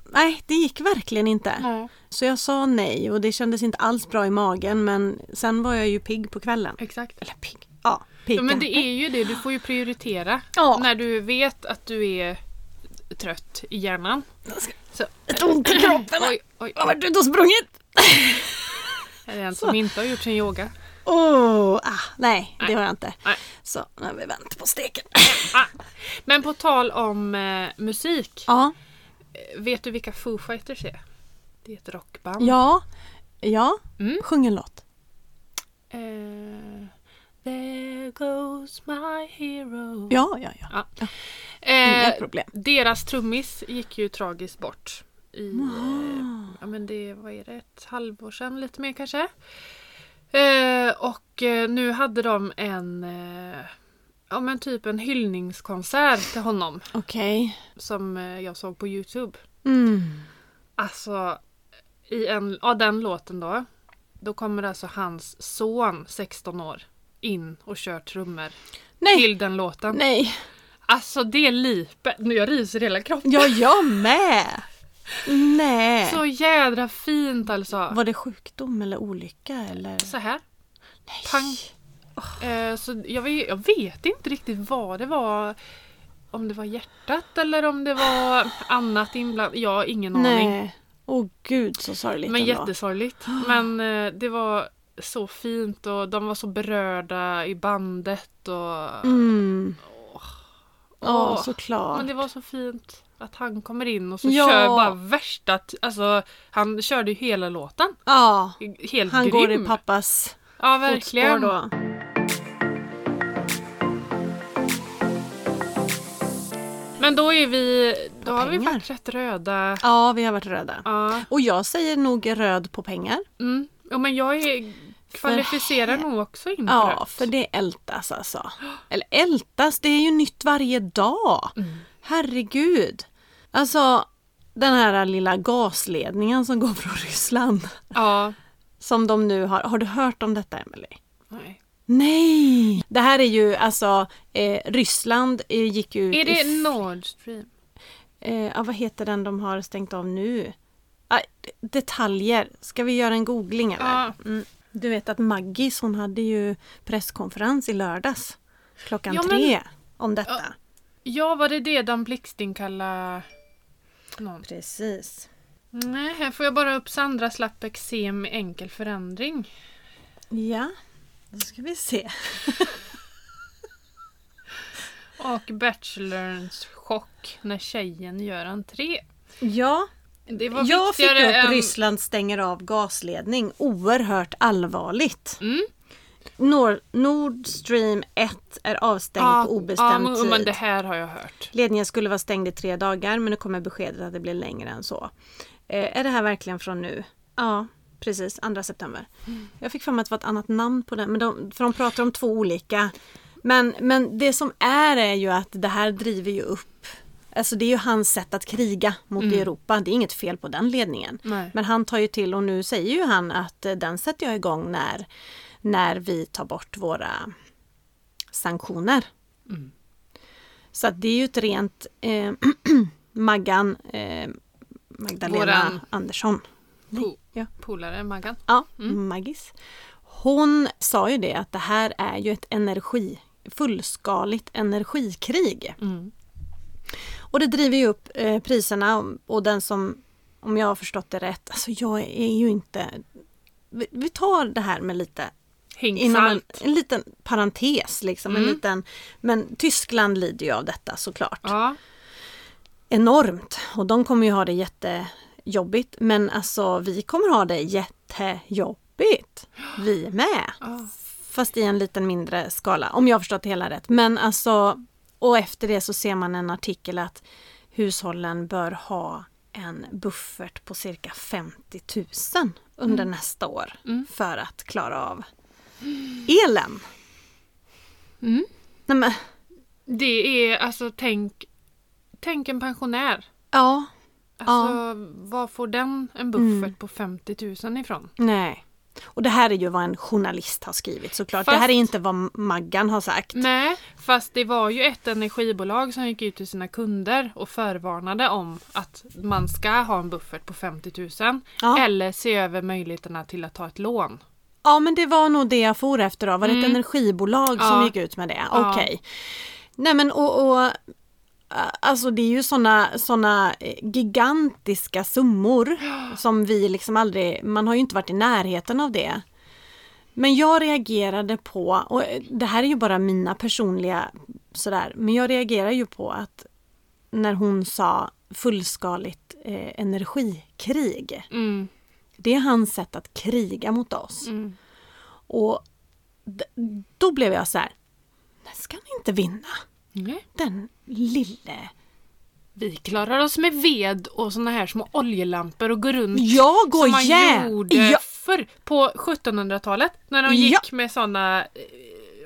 [SPEAKER 1] nej, det gick verkligen inte.
[SPEAKER 2] Ja,
[SPEAKER 1] Så jag sa nej och det kändes inte alls bra i magen men sen var jag ju pigg på kvällen.
[SPEAKER 2] exakt.
[SPEAKER 1] Eller pigg. Ja, pigg.
[SPEAKER 2] Ja, men det är ju det, du får ju prioritera.
[SPEAKER 1] Ja.
[SPEAKER 2] När du vet att du är trött i hjärnan. Så,
[SPEAKER 1] Ett ont i kroppen.
[SPEAKER 2] oj, oj,
[SPEAKER 1] Jag har varit ute och sprungit.
[SPEAKER 2] är det en som inte har gjort sin yoga?
[SPEAKER 1] Oh, ah, nej, det
[SPEAKER 2] Nej.
[SPEAKER 1] har jag inte.
[SPEAKER 2] Nej.
[SPEAKER 1] Så, nu har vi vänt på steken.
[SPEAKER 2] Ah. Men på tal om eh, musik.
[SPEAKER 1] Ja,
[SPEAKER 2] Vet du vilka Foo Fighters är? Det är ett rockband.
[SPEAKER 1] ja, ja.
[SPEAKER 2] Mm.
[SPEAKER 1] Sjung en låt.
[SPEAKER 2] Eh, there goes my hero.
[SPEAKER 1] Ja, Mm, ja, ja. Inga
[SPEAKER 2] Eh,
[SPEAKER 1] problem.
[SPEAKER 2] deras trummis gick ju tragiskt bort. I,
[SPEAKER 1] Ah,
[SPEAKER 2] eh, ja, men det, vad är det, ett halvår sedan lite mer kanske. Eh, och eh, nu hade de en, eh, ja men typ en hyllningskonsert till honom.
[SPEAKER 1] Okej.
[SPEAKER 2] Som eh, jag såg på Youtube.
[SPEAKER 1] Mm.
[SPEAKER 2] Alltså, i en, ja, den låten då. Då kommer alltså hans son, 16 år, in och kör trummor
[SPEAKER 1] Nej,
[SPEAKER 2] till den låten.
[SPEAKER 1] nej.
[SPEAKER 2] Alltså det lipet, nu jag ryser i hela kroppen.
[SPEAKER 1] Ja, jag med. Nej.
[SPEAKER 2] Så jädra fint alltså.
[SPEAKER 1] Var det sjukdom eller olycka eller?
[SPEAKER 2] Så här. Pang. Eh, så jag, vet- jag vet inte riktigt vad det var. Om det var hjärtat eller om det var annat inblandat. Jag har ingen aning.
[SPEAKER 1] Nej. Åh gud så sorgligt
[SPEAKER 2] Men
[SPEAKER 1] ändå.
[SPEAKER 2] jättesorgligt. Men eh, det var så fint och de var så berörda i bandet. Och,
[SPEAKER 1] Mm. Ja,
[SPEAKER 2] Åh.
[SPEAKER 1] såklart.
[SPEAKER 2] Men det var så fint att han kommer in och så
[SPEAKER 1] Ja.
[SPEAKER 2] kör bara värsta... t- Alltså, han körde ju hela låten.
[SPEAKER 1] Ja,
[SPEAKER 2] Helt
[SPEAKER 1] han
[SPEAKER 2] grym.
[SPEAKER 1] går i pappas fotspår
[SPEAKER 2] ja, verkligen.
[SPEAKER 1] då.
[SPEAKER 2] Men då är vi... Då har vi
[SPEAKER 1] pengar.
[SPEAKER 2] varit rätt röda.
[SPEAKER 1] Ja, vi har varit röda.
[SPEAKER 2] Ja.
[SPEAKER 1] Och jag säger nog röd på pengar.
[SPEAKER 2] Mm. Ja, men jag är kvalificerar nog också in på
[SPEAKER 1] Ja,
[SPEAKER 2] Mm, rött.
[SPEAKER 1] för det ältas alltså. Eller ältas, det är ju nytt varje dag.
[SPEAKER 2] Mm.
[SPEAKER 1] Herregud. Alltså, den här lilla gasledningen som går från Ryssland.
[SPEAKER 2] Ja.
[SPEAKER 1] Som de nu har. Har du hört om detta, Emelie?
[SPEAKER 2] Nej.
[SPEAKER 1] Nej! Det här är ju alltså eh, Ryssland eh, gick ju ut
[SPEAKER 2] Är
[SPEAKER 1] i
[SPEAKER 2] det
[SPEAKER 1] f-
[SPEAKER 2] Nord Stream?
[SPEAKER 1] eh, ja, vad heter den de har stängt av nu? Ah, d- detaljer. Ska vi göra en googling eller?
[SPEAKER 2] Ja.
[SPEAKER 1] Mm. Du vet att Maggis hon hade ju presskonferens i lördags klockan
[SPEAKER 2] Ja, men-
[SPEAKER 1] tre om detta.
[SPEAKER 2] Ja, var det det Dan Blixting kallade någon?
[SPEAKER 1] Precis.
[SPEAKER 2] Nej, här får jag bara upp Sandra slapp eksem med enkel förändring.
[SPEAKER 1] Ja, då ska vi se.
[SPEAKER 2] Och Bachelorns chock när tjejen gör entré.
[SPEAKER 1] Ja,
[SPEAKER 2] Det var
[SPEAKER 1] jag fick
[SPEAKER 2] viktigare
[SPEAKER 1] upp
[SPEAKER 2] än-
[SPEAKER 1] Ryssland stänger av gasledning. Oerhört allvarligt.
[SPEAKER 2] Mm.
[SPEAKER 1] Nord, Nord Stream 1 är avstängd
[SPEAKER 2] Ja,
[SPEAKER 1] på obestämd
[SPEAKER 2] ja,
[SPEAKER 1] tid.
[SPEAKER 2] men, men det här har jag hört.
[SPEAKER 1] Ledningen skulle vara stängd i tre dagar men nu kommer beskedet att det blir längre än så. Eh, är det här verkligen från nu? Ja, precis. 2 september. Jag fick för mig att det var ett annat namn på den, men de, för de pratar om två olika. Men, men det som är är ju att det här driver ju upp Alltså det är ju hans sätt att kriga mot Europa. Det är inget fel på den ledningen.
[SPEAKER 2] Nej.
[SPEAKER 1] Men han tar ju till och nu säger ju han att eh, den sätter jag igång när, när vi tar bort våra sanktioner.
[SPEAKER 2] Mm.
[SPEAKER 1] Så att det är ju ett rent eh, Maggan eh, Magdalena
[SPEAKER 2] Våran-
[SPEAKER 1] Andersson.
[SPEAKER 2] Po-
[SPEAKER 1] ja.
[SPEAKER 2] Polare, Maggan.
[SPEAKER 1] Ja, Maggis. Hon sa ju det att det här är ju ett energi, fullskaligt energikrig.
[SPEAKER 2] Mm.
[SPEAKER 1] Och det driver ju upp eh, priserna och den som, om jag har förstått det rätt, alltså jag är ju inte... Vi, vi tar det här med lite inom en,
[SPEAKER 2] Hingsalt.
[SPEAKER 1] en liten parentes liksom. En liten, men Tyskland lider ju av detta såklart.
[SPEAKER 2] Ja.
[SPEAKER 1] Enormt. Och de kommer ju ha det jättejobbigt. Men alltså vi kommer ha det jättejobbigt. Vi med.
[SPEAKER 2] Ja.
[SPEAKER 1] Fast i en liten mindre skala. Om jag har förstått det hela rätt. Men alltså, och efter det så ser man en artikel att hushållen bör ha en buffert på cirka 50 000 under nästa år för att klara av elen.
[SPEAKER 2] Mm.
[SPEAKER 1] Nej, men,
[SPEAKER 2] Det är alltså, tänk, tänk en pensionär.
[SPEAKER 1] ja,
[SPEAKER 2] Alltså, var får den en buffert på 50 000 ifrån?
[SPEAKER 1] nej. Och det här är ju vad en journalist har skrivit såklart. Det
[SPEAKER 2] Fast-
[SPEAKER 1] här är inte vad Maggan har sagt.
[SPEAKER 2] Nej, fast det var ju ett energibolag som gick ut till sina kunder och förvarnade om att man ska ha en buffert på 50 000
[SPEAKER 1] Ja.
[SPEAKER 2] eller se över möjligheterna till att ta ett lån.
[SPEAKER 1] Ja men det var nog det jag for efter då. Var det ett energibolag som
[SPEAKER 2] Mm. Ja.
[SPEAKER 1] gick ut med det?
[SPEAKER 2] Ja.
[SPEAKER 1] Okej. Nej men och, och äh, Alltså det är ju såna, såna eh, gigantiska summor som vi liksom aldrig, man har ju inte varit i närheten av det. Men jag reagerade på, och eh, det här är ju bara mina personliga sådär, men jag reagerar ju på att när hon sa fullskaligt eh, energikrig.
[SPEAKER 2] Mm.
[SPEAKER 1] Det är hans sätt att kriga mot oss.
[SPEAKER 2] Mm.
[SPEAKER 1] Och d- då blev jag så här. Den ska ni inte vinna.
[SPEAKER 2] Nej.
[SPEAKER 1] Den lille.
[SPEAKER 2] Vi klarar oss med ved och såna här små oljelampor och går runt
[SPEAKER 1] Jag går
[SPEAKER 2] Mm. som man
[SPEAKER 1] jä-
[SPEAKER 2] gjorde
[SPEAKER 1] Ja.
[SPEAKER 2] förr på 1700-talet när de
[SPEAKER 1] Ja.
[SPEAKER 2] gick med såna eh,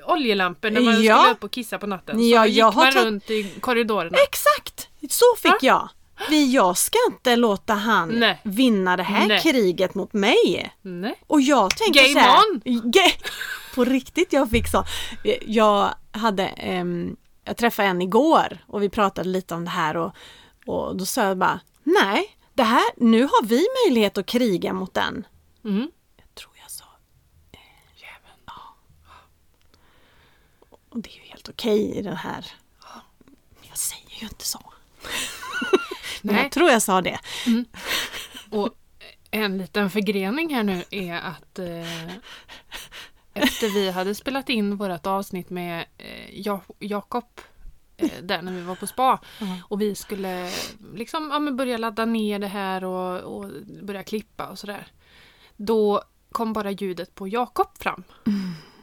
[SPEAKER 2] oljelampor när man
[SPEAKER 1] Ja.
[SPEAKER 2] skulle upp och kissa på natten. Så
[SPEAKER 1] Ja,
[SPEAKER 2] gick
[SPEAKER 1] jag har
[SPEAKER 2] man
[SPEAKER 1] tagit-
[SPEAKER 2] runt i korridorerna.
[SPEAKER 1] Exakt! Så fick jag. Vi, jag ska inte låta han
[SPEAKER 2] Nej.
[SPEAKER 1] vinna det här
[SPEAKER 2] Nej.
[SPEAKER 1] kriget mot mig.
[SPEAKER 2] Nej.
[SPEAKER 1] Och jag tänker
[SPEAKER 2] Game
[SPEAKER 1] så här,
[SPEAKER 2] on!
[SPEAKER 1] Ga- på riktigt, jag fick så. Jag hade, ehm, jag träffade en igår och vi pratade lite om det här och, och då sa jag bara, nej, det här, nu har vi möjlighet att kriga mot den.
[SPEAKER 2] Mm.
[SPEAKER 1] Jag tror jag sa. eh,
[SPEAKER 2] Jäveln.
[SPEAKER 1] Och det är ju helt okej i den här. Men jag säger ju inte så. Men
[SPEAKER 2] Nej.
[SPEAKER 1] jag tror jag sa det.
[SPEAKER 2] Och en liten förgrening här nu är att eh, efter vi hade spelat in vårt avsnitt med eh, Ja- Jakob eh, där när vi var på spa
[SPEAKER 1] Mm.
[SPEAKER 2] och vi skulle liksom ja, men börja ladda ner det här och, och börja klippa och sådär. Då kom bara ljudet på Jakob fram.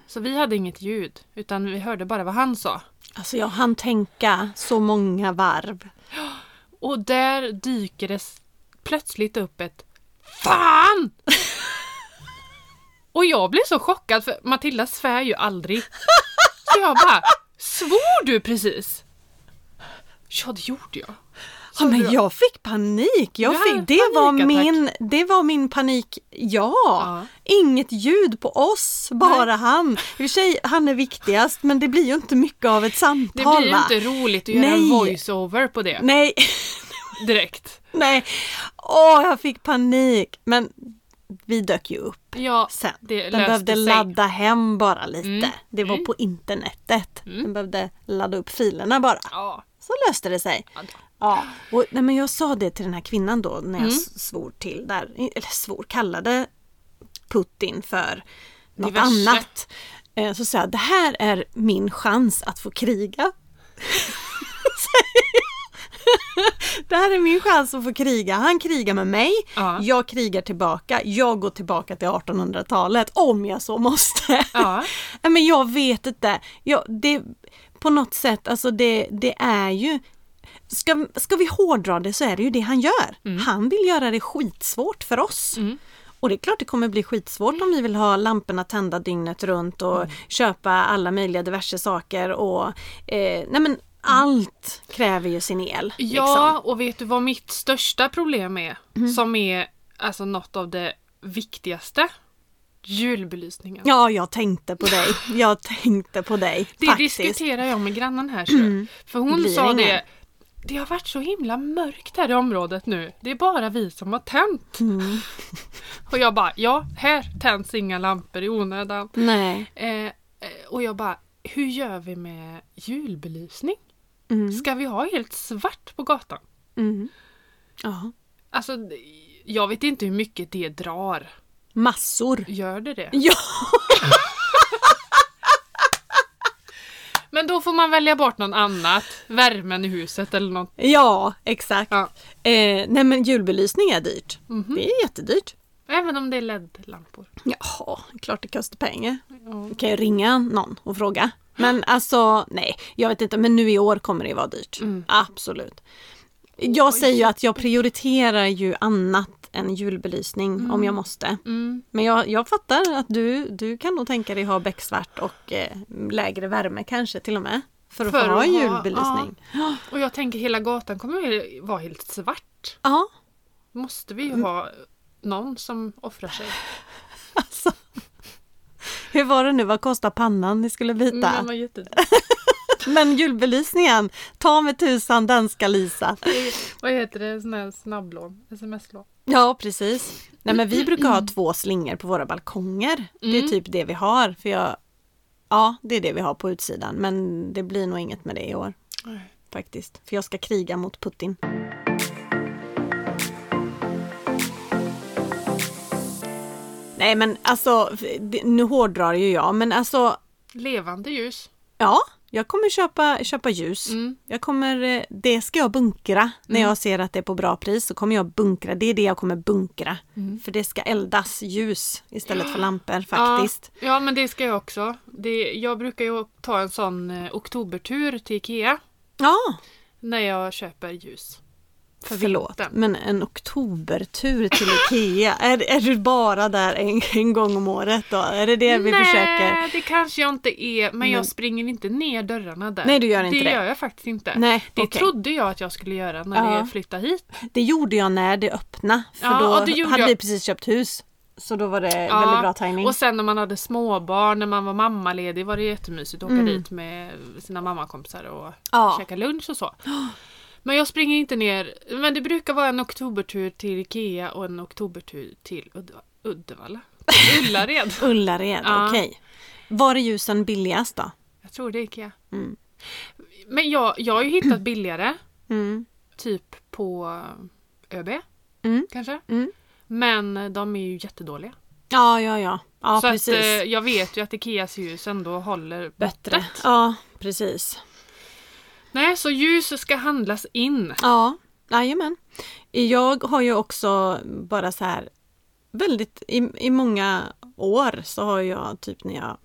[SPEAKER 2] Så vi hade inget ljud utan vi hörde bara vad han sa.
[SPEAKER 1] Alltså jag hann tänka så många varv.
[SPEAKER 2] Och där dyker det s- plötsligt upp ett FAN! Och jag blev så chockad för Matilda svär ju aldrig. Så jag bara, svor du precis? Ja det gjorde jag.
[SPEAKER 1] Ja,
[SPEAKER 2] du
[SPEAKER 1] men
[SPEAKER 2] då?
[SPEAKER 1] jag fick panik! Jag
[SPEAKER 2] Ja,
[SPEAKER 1] fick, det, var
[SPEAKER 2] panikattack.
[SPEAKER 1] min, det var min panik, ja!
[SPEAKER 2] Ja.
[SPEAKER 1] Inget ljud på oss, bara han. I och för sig, han är viktigast men det blir ju inte mycket av ett
[SPEAKER 2] Det
[SPEAKER 1] samtal
[SPEAKER 2] blir ju
[SPEAKER 1] va?
[SPEAKER 2] inte roligt att göra en
[SPEAKER 1] Nej.
[SPEAKER 2] voiceover på det
[SPEAKER 1] Nej,
[SPEAKER 2] direkt.
[SPEAKER 1] nej. Åh, jag fick panik! Men vi dök ju upp
[SPEAKER 2] Ja,
[SPEAKER 1] sen.
[SPEAKER 2] det
[SPEAKER 1] Den
[SPEAKER 2] löste
[SPEAKER 1] behövde
[SPEAKER 2] sig.
[SPEAKER 1] ladda hem bara lite.
[SPEAKER 2] Mm,
[SPEAKER 1] Det var på internetet. Den behövde ladda upp filerna bara.
[SPEAKER 2] Ja,
[SPEAKER 1] Så löste det sig.
[SPEAKER 2] Ja.
[SPEAKER 1] Ja, och, nej, men jag sa det till den här kvinnan då när jag
[SPEAKER 2] Mm.
[SPEAKER 1] s- svor till där, eller svor, kallade Putin för något
[SPEAKER 2] Diverse.
[SPEAKER 1] annat. Eh, Så sa jag, det här är min chans att få kriga. Säger jag. det här är min chans att få kriga. Han krigar med mig,
[SPEAKER 2] Ja.
[SPEAKER 1] jag krigar tillbaka, jag går tillbaka till 1800-talet om jag så måste.
[SPEAKER 2] Ja.
[SPEAKER 1] Nej, men jag vet inte. Jag, det, på något sätt, alltså det, det är ju... Ska, ska vi hårdra det så är det ju det han gör.
[SPEAKER 2] Mm.
[SPEAKER 1] Han vill göra det skitsvårt för oss. Och det är klart det kommer bli skitsvårt
[SPEAKER 2] Mm.
[SPEAKER 1] om vi vill ha lamporna tända dygnet runt och köpa alla möjliga diverse saker och... Eh, nej men allt kräver ju sin el. liksom. Mhm.
[SPEAKER 2] Ja, och vet du vad mitt största problem är? Som är alltså något av det viktigaste? Julbelysningen.
[SPEAKER 1] ja, jag tänkte på dig. Jag tänkte på dig.
[SPEAKER 2] Det
[SPEAKER 1] faktiskt. Mm.
[SPEAKER 2] diskuterar jag med grannen här. så. För hon
[SPEAKER 1] Blir
[SPEAKER 2] sa
[SPEAKER 1] ingen.
[SPEAKER 2] det. Det har varit så himla mörkt här i området nu. Det är bara vi som har tänt.
[SPEAKER 1] Mm.
[SPEAKER 2] Och jag bara, ja, här tänds inga lampor i onödan.
[SPEAKER 1] Nej.
[SPEAKER 2] Eh, eh, och jag bara, hur gör vi med julbelysning?
[SPEAKER 1] Mm.
[SPEAKER 2] Ska vi ha helt svart på gatan?
[SPEAKER 1] Mm. Ja.
[SPEAKER 2] Alltså, jag vet inte hur mycket det drar.
[SPEAKER 1] Massor.
[SPEAKER 2] Gör det det?
[SPEAKER 1] Ja.
[SPEAKER 2] Men då får man välja bort något annat. Värmen i huset eller något.
[SPEAKER 1] Ja, exakt.
[SPEAKER 2] Ja. Mhm.
[SPEAKER 1] Eh, nej men julbelysning är dyrt. Det är jättedyrt.
[SPEAKER 2] Även om det är LED-lampor.
[SPEAKER 1] Jaha, klart det kostar pengar.
[SPEAKER 2] Ja.
[SPEAKER 1] Du kan ju ringa någon och fråga. Men alltså, nej, jag vet inte. Men nu i år kommer det vara dyrt.
[SPEAKER 2] Mm.
[SPEAKER 1] Absolut. Jag säger ju att jag prioriterar ju annat än julbelysning om jag måste.
[SPEAKER 2] Mm.
[SPEAKER 1] Men jag, jag fattar att du, du kan nog tänka dig ha becksvart och eh, lägre värme kanske till och med. För att
[SPEAKER 2] För
[SPEAKER 1] få ha
[SPEAKER 2] att ha-
[SPEAKER 1] julbelysning. Ja.
[SPEAKER 2] Och jag tänker hela gatan kommer ju vara helt svart.
[SPEAKER 1] ja,
[SPEAKER 2] Måste vi
[SPEAKER 1] Mm.
[SPEAKER 2] ju ha någon som offrar sig.
[SPEAKER 1] alltså. Hur var det nu? Vad kostar pannan ni skulle byta?
[SPEAKER 2] Mm, Men vad jätte-
[SPEAKER 1] Men julbelysningen, ta med tusan den ska Lisa.
[SPEAKER 2] Vad heter det? Sån här snabblån? Sms-lån?
[SPEAKER 1] Ja, precis. Nej men vi brukar ha två slingor på våra balkonger. Det
[SPEAKER 2] Mm.
[SPEAKER 1] är typ det vi har. För jag, ja, det är det vi har på utsidan. Men det blir nog inget med det i år faktiskt. För jag ska kriga mot Putin. Nej men alltså, det- nu hårdrar ju jag, men alltså
[SPEAKER 2] Levande ljus.
[SPEAKER 1] Ja, jag kommer köpa, köpa ljus.
[SPEAKER 2] Mm.
[SPEAKER 1] Jag kommer, eh, det ska jag bunkra. När jag ser att det är på bra pris så kommer jag bunkra. Det är det jag kommer bunkra. För det ska eldas ljus istället för lampor faktiskt.
[SPEAKER 2] Mm. Ja, ja, men det ska jag också. Det, jag brukar ju ta en sån eh, oktobertur till Ikea
[SPEAKER 1] Ja,
[SPEAKER 2] när jag köper ljus. För
[SPEAKER 1] förlåt.
[SPEAKER 2] vintern.
[SPEAKER 1] Men en oktobertur till Ikea. är, är du bara där en, en gång om året då? Är det det vi
[SPEAKER 2] Nej,
[SPEAKER 1] försöker?
[SPEAKER 2] det kanske jag inte är. Men, jag springer inte ner dörrarna där.
[SPEAKER 1] Nej, du gör inte det.
[SPEAKER 2] Det gör jag faktiskt inte.
[SPEAKER 1] Nej,
[SPEAKER 2] det
[SPEAKER 1] okej.
[SPEAKER 2] trodde jag att jag skulle göra när
[SPEAKER 1] Ja.
[SPEAKER 2] jag flyttade hit.
[SPEAKER 1] Det gjorde jag när det öppna. För
[SPEAKER 2] Ja,
[SPEAKER 1] då
[SPEAKER 2] och det gjorde
[SPEAKER 1] hade
[SPEAKER 2] jag.
[SPEAKER 1] vi precis köpt hus. Så då var det
[SPEAKER 2] Ja,
[SPEAKER 1] väldigt bra tajming.
[SPEAKER 2] Och sen när man hade småbarn, när man var mammaledig var det jättemysigt att åka dit med sina mammakompisar och
[SPEAKER 1] Mm. Ja.
[SPEAKER 2] käka lunch och så. Men jag springer inte ner. Men det brukar vara en oktobertur till Ikea och en oktobertur till Uddeva- Uddevalla. Ullared.
[SPEAKER 1] Ullared,
[SPEAKER 2] Ja.
[SPEAKER 1] okej. Var är ljusen billigast då?
[SPEAKER 2] Jag tror det är Ikea.
[SPEAKER 1] Mm.
[SPEAKER 2] Men jag, jag har ju hittat billigare.
[SPEAKER 1] Mm.
[SPEAKER 2] Typ på ÖB
[SPEAKER 1] Mm.
[SPEAKER 2] kanske.
[SPEAKER 1] Mm.
[SPEAKER 2] Men de är ju jättedåliga.
[SPEAKER 1] Ja, ja, ja. Ja,
[SPEAKER 2] så att,
[SPEAKER 1] precis.
[SPEAKER 2] eh, jag vet ju att Ikeas ljus ändå håller
[SPEAKER 1] Bättre.
[SPEAKER 2] måttet.
[SPEAKER 1] Ja, precis.
[SPEAKER 2] Nej, så ljus ska handlas in.
[SPEAKER 1] Ja, jajamän. Jag har ju också bara så här väldigt, i, i många år så har jag typ när jag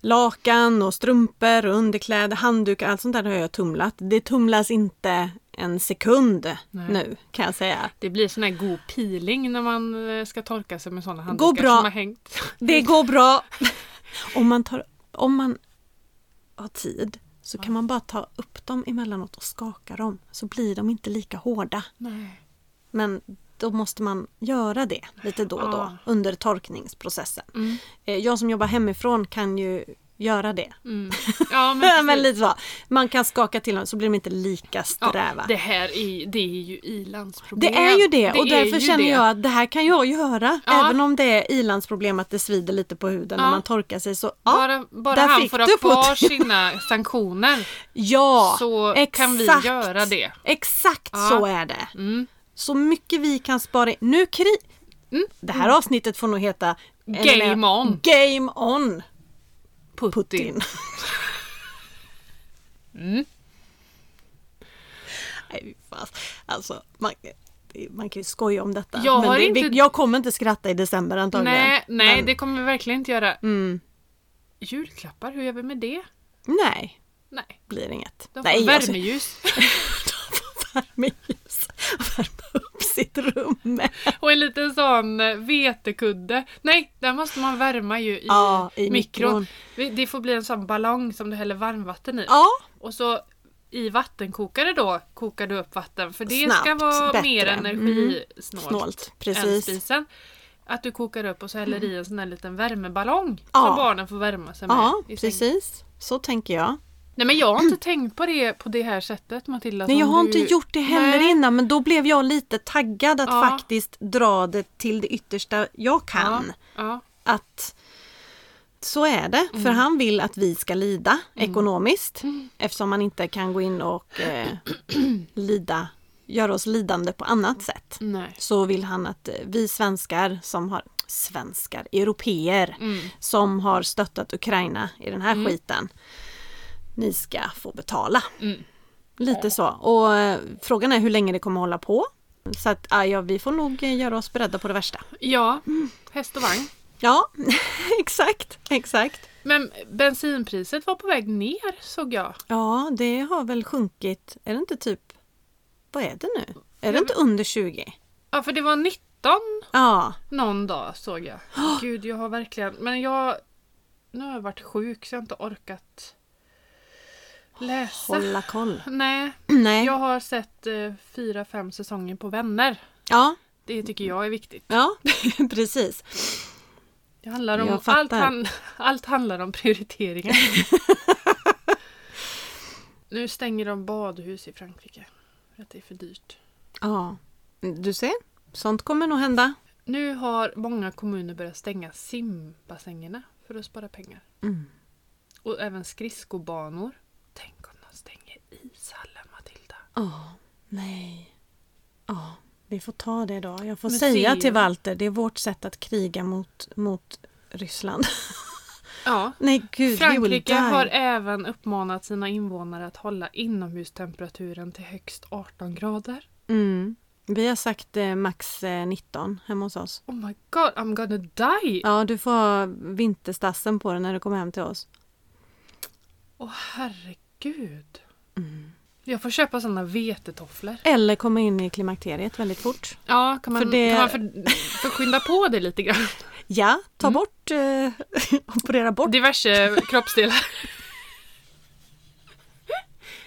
[SPEAKER 1] lakan och strumpor och underkläder, handdukar, allt sånt där har jag tumlat. Det tumlas inte en sekund
[SPEAKER 2] Nej.
[SPEAKER 1] nu kan jag säga.
[SPEAKER 2] Det blir sån här god peeling när man eh, ska torka sig med såna handdukar
[SPEAKER 1] Går bra.
[SPEAKER 2] som har hängt.
[SPEAKER 1] Det går bra. Om man, tar, om man har tid så kan man bara ta upp dem emellanåt och skaka dem så blir de inte lika hårda.
[SPEAKER 2] Nej.
[SPEAKER 1] Men då måste man göra det lite då och då
[SPEAKER 2] Ja.
[SPEAKER 1] under torkningsprocessen.
[SPEAKER 2] Mm.
[SPEAKER 1] Eh, Jag som jobbar hemifrån kan ju göra det.
[SPEAKER 2] Mm. Ja,
[SPEAKER 1] Men,
[SPEAKER 2] men, precis.
[SPEAKER 1] lite så. Man kan skaka till dem så blir de inte lika sträva.
[SPEAKER 2] ja, det
[SPEAKER 1] det,
[SPEAKER 2] här är, det är ju i-landsproblem.
[SPEAKER 1] är ju det och
[SPEAKER 2] är
[SPEAKER 1] därför
[SPEAKER 2] ju
[SPEAKER 1] känner
[SPEAKER 2] det.
[SPEAKER 1] jag att det här kan jag göra.
[SPEAKER 2] Ja.
[SPEAKER 1] Även om det är ilandsproblem att det svider lite på huden när
[SPEAKER 2] Ja.
[SPEAKER 1] man torkar sig. Så, ja,
[SPEAKER 2] Bara, bara
[SPEAKER 1] där
[SPEAKER 2] han
[SPEAKER 1] fick
[SPEAKER 2] får ha
[SPEAKER 1] du
[SPEAKER 2] kvar
[SPEAKER 1] Putin.
[SPEAKER 2] sina sanktioner
[SPEAKER 1] ja
[SPEAKER 2] så kan vi
[SPEAKER 1] exakt.
[SPEAKER 2] göra det.
[SPEAKER 1] Exakt
[SPEAKER 2] Ja.
[SPEAKER 1] så är det.
[SPEAKER 2] Mm.
[SPEAKER 1] Så mycket vi kan spara in. Nu kri...
[SPEAKER 2] Mm.
[SPEAKER 1] Det här avsnittet får nog heta
[SPEAKER 2] Game on.
[SPEAKER 1] Game on
[SPEAKER 2] Putin.
[SPEAKER 1] Putin.
[SPEAKER 2] Mm.
[SPEAKER 1] Nej, fy fan. Alltså, man, det- man kan ju skoja om detta.
[SPEAKER 2] Jag har
[SPEAKER 1] det, vi-
[SPEAKER 2] inte-
[SPEAKER 1] jag kommer inte skratta i december antagligen.
[SPEAKER 2] Nej, nej
[SPEAKER 1] Men-
[SPEAKER 2] det kommer vi verkligen inte göra.
[SPEAKER 1] Mm,
[SPEAKER 2] Julklappar, hur gör vi med det?
[SPEAKER 1] nej,
[SPEAKER 2] Nej,
[SPEAKER 1] blir inget.
[SPEAKER 2] de får
[SPEAKER 1] Nej, alltså,
[SPEAKER 2] värmeljus
[SPEAKER 1] värmeljus. Värma upp sitt rum med.
[SPEAKER 2] och en liten sån eh, vetekudde. Nej, där måste man värma ju i,
[SPEAKER 1] Ja, i mikron.
[SPEAKER 2] mikron. Vi- Det får bli en sån ballong som du häller varmvatten i.
[SPEAKER 1] Ja,
[SPEAKER 2] Och så i vattenkokare då kokar du upp vatten för det ska
[SPEAKER 1] Snabbt,
[SPEAKER 2] vara
[SPEAKER 1] bättre. Mm.
[SPEAKER 2] mer energisnålt
[SPEAKER 1] snålt.
[SPEAKER 2] än
[SPEAKER 1] Precis. Mm.
[SPEAKER 2] spisen. Att du kokar upp och så häller i en sån här liten värmeballong
[SPEAKER 1] Ja.
[SPEAKER 2] som barnen får värma sig med.
[SPEAKER 1] Ja,
[SPEAKER 2] i sängen.
[SPEAKER 1] precis. Så tänker jag.
[SPEAKER 2] Nej men jag har inte tänkt på det på det här sättet Matilda.
[SPEAKER 1] Nej,
[SPEAKER 2] som
[SPEAKER 1] jag har
[SPEAKER 2] Alltså, du-
[SPEAKER 1] inte gjort det heller
[SPEAKER 2] Nej.
[SPEAKER 1] innan men då blev jag lite taggad att
[SPEAKER 2] Ja.
[SPEAKER 1] faktiskt dra det till det yttersta jag kan.
[SPEAKER 2] Ja, Mm.
[SPEAKER 1] att så är det, för han vill att vi ska lida ekonomiskt eftersom man inte kan gå in och eh, lida, göra oss lidande på annat sätt.
[SPEAKER 2] nej.
[SPEAKER 1] Så vill han att eh, vi svenskar som har, svenskar, europeer
[SPEAKER 2] Mm.
[SPEAKER 1] som har stöttat Ukraina i den här skiten, ni ska få betala.
[SPEAKER 2] Mm.
[SPEAKER 1] Lite så. Och eh, frågan är hur länge det kommer hålla på. Så att ah, ja, vi får nog eh, göra oss beredda på det värsta.
[SPEAKER 2] Ja, häst och vagn.
[SPEAKER 1] Ja, exakt, exakt.
[SPEAKER 2] Men bensinpriset var på väg ner såg jag.
[SPEAKER 1] Ja, det har väl sjunkit. Är det inte typ... Vad är det nu? Är det inte under 20?
[SPEAKER 2] Ja, för det var 19
[SPEAKER 1] Ja,
[SPEAKER 2] någon dag såg jag. Gud, jag har verkligen... Men jag... Nu har jag varit sjuk så jag har inte orkat läsa.
[SPEAKER 1] hålla koll.
[SPEAKER 2] Nej,
[SPEAKER 1] Nej.
[SPEAKER 2] jag har sett eh, fyra, fem säsonger på Vänner.
[SPEAKER 1] Ja,
[SPEAKER 2] Det tycker jag är viktigt.
[SPEAKER 1] ja precis.
[SPEAKER 2] Det handlar om
[SPEAKER 1] Jag fattar.
[SPEAKER 2] allt, han, allt handlar om prioriteringar. nu stänger de badhus i Frankrike. För att det är för dyrt.
[SPEAKER 1] Ja, du ser. Sånt kommer nog hända.
[SPEAKER 2] Nu har många kommuner börjat stänga simbassängerna för att spara pengar.
[SPEAKER 1] Mm.
[SPEAKER 2] Och även skridskobanor. Tänk om de stänger ishallen, Matilda.
[SPEAKER 1] Ja, nej. Ja, vi får ta det då. Jag får
[SPEAKER 2] Museum.
[SPEAKER 1] säga till Walter, det är vårt sätt att kriga mot, mot Ryssland.
[SPEAKER 2] Ja.
[SPEAKER 1] nej, gud, we will die.
[SPEAKER 2] Frankrike har även uppmanat sina invånare att hålla inomhustemperaturen till högst 18 grader.
[SPEAKER 1] Mm. Vi har sagt eh, max eh, 19 hemma hos oss.
[SPEAKER 2] Oh my god, I'm gonna die!
[SPEAKER 1] Ja, du får ha vinterstassen på dig när du kommer hem till oss.
[SPEAKER 2] Åh herregud.
[SPEAKER 1] Mm.
[SPEAKER 2] Jag får köpa såna vetetofflor.
[SPEAKER 1] Eller komma in i klimakteriet väldigt fort.
[SPEAKER 2] Ja, kan man,
[SPEAKER 1] För det-
[SPEAKER 2] kan man för, förskynda på det lite grann?
[SPEAKER 1] Ja, ta bort, eh, operera bort
[SPEAKER 2] Diverse kroppsdelar.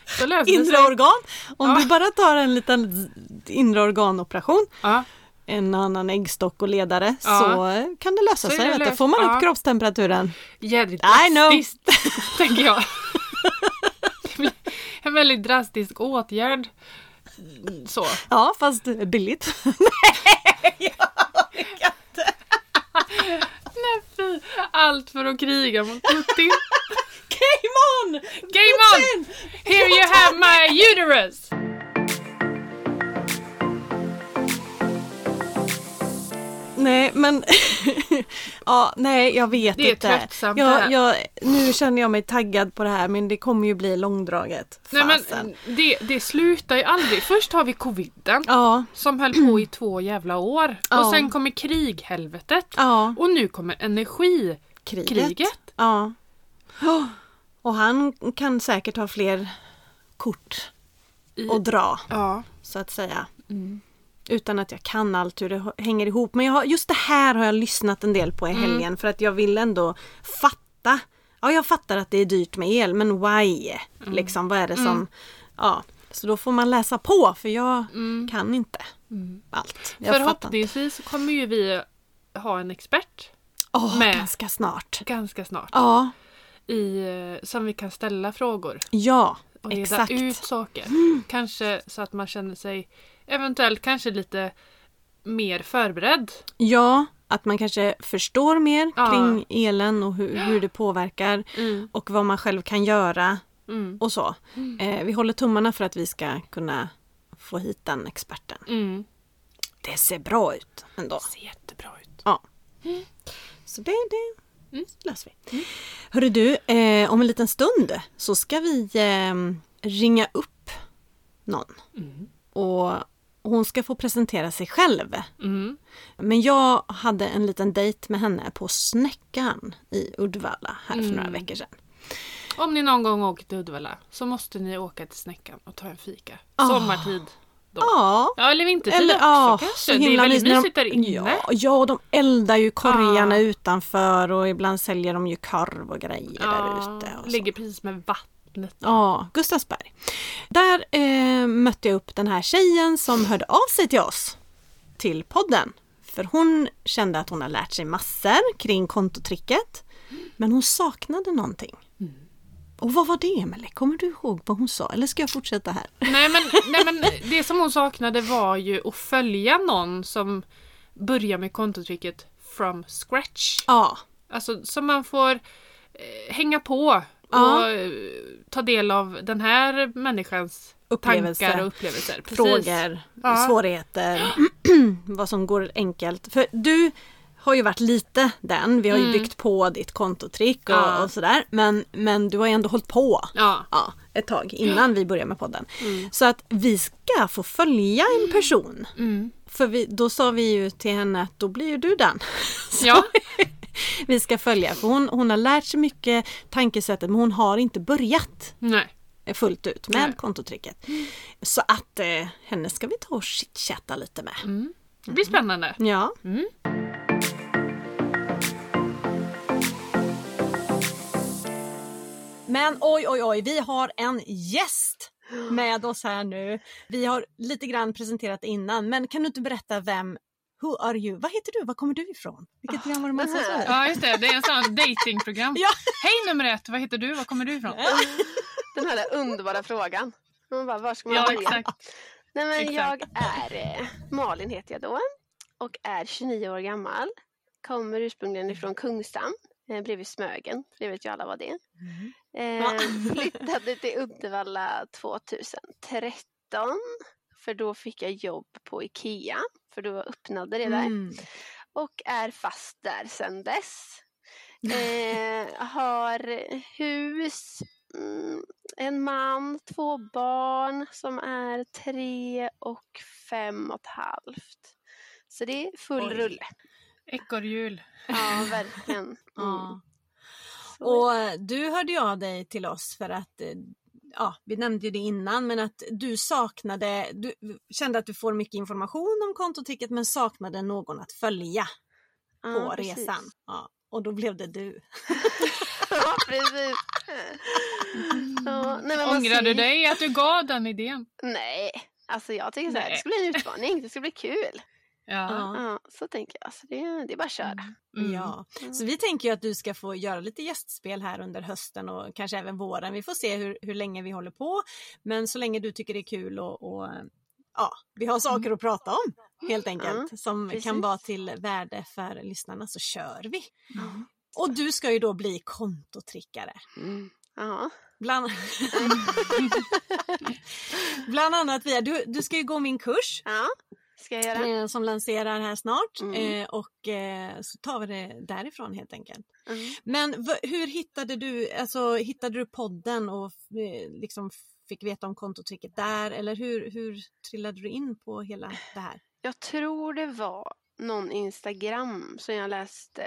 [SPEAKER 2] Så löser det
[SPEAKER 1] inre
[SPEAKER 2] sig.
[SPEAKER 1] organ. Om
[SPEAKER 2] Ja.
[SPEAKER 1] du bara tar en liten z- inre organoperation,
[SPEAKER 2] Ja,
[SPEAKER 1] en annan äggstock och ledare,
[SPEAKER 2] Ja.
[SPEAKER 1] så eh, kan det lösa
[SPEAKER 2] Så är
[SPEAKER 1] sig.
[SPEAKER 2] det
[SPEAKER 1] vet du.
[SPEAKER 2] löst.
[SPEAKER 1] får man upp
[SPEAKER 2] Ja.
[SPEAKER 1] kroppstemperaturen.
[SPEAKER 2] jädrigt
[SPEAKER 1] I know.
[SPEAKER 2] drastiskt, tänker jag. Det blir en väldigt drastisk åtgärd. så.
[SPEAKER 1] Ja, fast billigt.
[SPEAKER 2] Nej fy! Allt för att kriga mot Putin.
[SPEAKER 1] Game on!
[SPEAKER 2] Game on! Here you have my uterus!
[SPEAKER 1] Nej, men... ja, nej, jag vet
[SPEAKER 2] Det är
[SPEAKER 1] inte.
[SPEAKER 2] tröttsamt det här.
[SPEAKER 1] jag, jag, Nu känner jag mig taggad på det här, men det kommer ju bli långdraget.
[SPEAKER 2] Nej
[SPEAKER 1] Fasen.
[SPEAKER 2] men det, det slutar ju aldrig. Först har vi coviden
[SPEAKER 1] Ja,
[SPEAKER 2] som höll på i två jävla år.
[SPEAKER 1] Ja.
[SPEAKER 2] Och sen kommer krighelvetet.
[SPEAKER 1] ja.
[SPEAKER 2] Och nu kommer energikriget.
[SPEAKER 1] Kriget. Ja. Oh, Och han kan säkert ha fler kort
[SPEAKER 2] I,
[SPEAKER 1] att dra,
[SPEAKER 2] ja.
[SPEAKER 1] så att säga. Utan att jag kan allt hur det h- hänger ihop. Men jag har, just det här har jag lyssnat en del på
[SPEAKER 2] Mm.
[SPEAKER 1] i helgen för att jag vill ändå fatta. Ja, jag fattar att det är dyrt med el, men why?
[SPEAKER 2] Mm.
[SPEAKER 1] Liksom, vad är det som... Ja, så då får man läsa på för jag kan inte allt. Jag fattar inte.
[SPEAKER 2] Mm. Förhoppningsvis så kommer ju vi ha en expert
[SPEAKER 1] Åh,
[SPEAKER 2] med.
[SPEAKER 1] ganska snart.
[SPEAKER 2] ganska snart
[SPEAKER 1] Ja,
[SPEAKER 2] i, eh, som vi kan ställa frågor
[SPEAKER 1] ja,
[SPEAKER 2] och reda
[SPEAKER 1] exakt. Mm.
[SPEAKER 2] ut saker. Kanske så att man känner sig eventuellt kanske lite mer förberedd.
[SPEAKER 1] Ja, att man kanske förstår mer
[SPEAKER 2] Ja.
[SPEAKER 1] kring elen och hur, hur det påverkar
[SPEAKER 2] Mm.
[SPEAKER 1] och vad man själv kan göra
[SPEAKER 2] Mm.
[SPEAKER 1] och så. Eh, vi håller tummarna för att vi ska kunna få hit den experten.
[SPEAKER 2] Mm.
[SPEAKER 1] Det ser bra ut ändå.
[SPEAKER 2] Ser jättebra ut.
[SPEAKER 1] Ja. Så det, det
[SPEAKER 2] Mm.
[SPEAKER 1] löser vi. Hörru du, eh, om en liten stund så ska vi eh, ringa upp någon. Och hon ska få presentera sig själv.
[SPEAKER 2] Mm.
[SPEAKER 1] Men jag hade en liten dejt med henne på Snäckan i Uddevalla här för
[SPEAKER 2] Mm.
[SPEAKER 1] några veckor sedan.
[SPEAKER 2] Om ni någon gång åker till Uddevalla så måste ni åka till Snäckan och ta en fika.
[SPEAKER 1] Ah.
[SPEAKER 2] Sommartid. Då.
[SPEAKER 1] Ja.
[SPEAKER 2] Ja eller vintertid
[SPEAKER 1] Eller,
[SPEAKER 2] också
[SPEAKER 1] ja, så
[SPEAKER 2] kanske. Det är
[SPEAKER 1] himla
[SPEAKER 2] väldigt
[SPEAKER 1] när
[SPEAKER 2] mysigt där inne.
[SPEAKER 1] Ja, ja, och de eldar ju korgarna
[SPEAKER 2] Ah.
[SPEAKER 1] utanför och ibland säljer de ju korv och grejer
[SPEAKER 2] Ah,
[SPEAKER 1] där ute. och så.
[SPEAKER 2] ligger precis med vattnet.
[SPEAKER 1] Ja, Gustavsberg. Där eh, mötte jag upp den här tjejen som hörde av sig till oss till podden. För hon kände att hon har lärt sig massor kring kontotricket. Men hon saknade någonting.
[SPEAKER 2] Mm.
[SPEAKER 1] Och vad var det Emelie? Kommer du ihåg vad hon sa? Eller ska jag fortsätta här?
[SPEAKER 2] Nej men, nej men det som hon saknade var ju att följa någon som börjar med kontotricket from scratch.
[SPEAKER 1] Ja,
[SPEAKER 2] Alltså som man får eh, hänga på och
[SPEAKER 1] Ja.
[SPEAKER 2] eh, ta del av den här människans
[SPEAKER 1] Upplevelse.
[SPEAKER 2] tankar och upplevelser. Precis.
[SPEAKER 1] frågor,
[SPEAKER 2] Ja.
[SPEAKER 1] svårigheter, vad som går enkelt. För du har ju varit lite den. Vi har ju byggt på ditt kontotrick och,
[SPEAKER 2] Mm. Ja.
[SPEAKER 1] och sådär. Men, men du har ju ändå hållit på.
[SPEAKER 2] Ja.
[SPEAKER 1] ja, ett tag innan vi börjar med podden.
[SPEAKER 2] Mm.
[SPEAKER 1] Så att vi ska få följa en person.
[SPEAKER 2] Mm.
[SPEAKER 1] För vi, då sa vi ju till henne att då blir ju du den. Så
[SPEAKER 2] Ja.
[SPEAKER 1] vi ska följa, för hon, hon har lärt sig mycket tankesättet men hon har inte börjat
[SPEAKER 2] Nej.
[SPEAKER 1] fullt ut med
[SPEAKER 2] Nej.
[SPEAKER 1] kontotricket. Så att eh, henne ska vi ta och chitchatta lite med.
[SPEAKER 2] Det blir spännande.
[SPEAKER 1] Ja. Men oj, oj, oj, vi har en gäst med oss här nu. Vi har lite grann presenterat innan, men kan du inte berätta vem Who are you? Vad heter du? Var kommer du ifrån?
[SPEAKER 3] Ah.
[SPEAKER 1] Vilket program var det man sa så? här?
[SPEAKER 2] Ja just det, det är en sån datingprogram.
[SPEAKER 1] Ja.
[SPEAKER 2] Hej nummer ett, vad heter du? Var kommer du ifrån?
[SPEAKER 3] Den här där underbara frågan. Man bara, var ska man
[SPEAKER 2] Ja
[SPEAKER 3] börja?
[SPEAKER 2] exakt.
[SPEAKER 3] Nej, men
[SPEAKER 2] exakt.
[SPEAKER 3] jag är eh, Malin heter jag då och är 29 år gammal. Kommer ursprungligen ifrån Kungshamn eh, bredvid Smögen, för det vet ju alla vad det är.
[SPEAKER 1] Ja.
[SPEAKER 3] Eh, flyttade till Uddevalla 2013 för då fick jag jobb på IKEA för då öppnade det där
[SPEAKER 1] Mm.
[SPEAKER 3] och är fast där sedan dess. Eh, har hus, mm, en man, två barn som är tre och fem och ett halvt. Så det är full
[SPEAKER 1] Oj.
[SPEAKER 3] rulle.
[SPEAKER 2] Ekorrhjul.
[SPEAKER 3] Ja, verkligen. Mm.
[SPEAKER 1] Ja. Och eh, du hörde ju av dig till oss för att, eh, ja vi nämnde ju det innan, men att du saknade, du kände att du får mycket information om kontotricket men saknade någon att följa på
[SPEAKER 3] Ja, precis.
[SPEAKER 1] resan. Ja, och då blev det du.
[SPEAKER 3] Ja, precis. Ja, nej, men man
[SPEAKER 2] Ångrar du
[SPEAKER 3] ser-
[SPEAKER 2] dig att du gav den idén?
[SPEAKER 3] Nej, alltså jag tycker så här,
[SPEAKER 2] Nej.
[SPEAKER 3] det ska bli en utmaning, det ska bli kul.
[SPEAKER 2] Ja.
[SPEAKER 1] Ja.
[SPEAKER 3] Ja, så tänker jag, så det, det är bara att köra.
[SPEAKER 2] Mm.
[SPEAKER 1] Ja,
[SPEAKER 3] Mm.
[SPEAKER 1] så vi tänker ju att du ska få göra lite gästspel här under hösten och kanske även våren. Vi får se hur, hur länge vi håller på. Men så länge du tycker det är kul och, och ja, vi har saker att prata om helt enkelt
[SPEAKER 3] Mm,
[SPEAKER 1] som kan
[SPEAKER 3] precis.
[SPEAKER 1] vara till värde för lyssnarna så kör vi.
[SPEAKER 3] Mm.
[SPEAKER 1] Och du ska ju då bli kontotrickare.
[SPEAKER 3] Jaha.
[SPEAKER 1] Bland, Bland annat via, du, du ska ju gå min kurs
[SPEAKER 3] Ja, ska jag göra.
[SPEAKER 1] eh, som lanserar här snart
[SPEAKER 3] Mm.
[SPEAKER 1] eh, och eh, så tar vi det därifrån helt enkelt.
[SPEAKER 3] Mm.
[SPEAKER 1] Men v- hur hittade du, alltså hittade du podden och eh, liksom fick veta om kontotricket där eller hur, hur trillade du in på hela det här?
[SPEAKER 3] Jag tror det var någon Instagram som jag läste.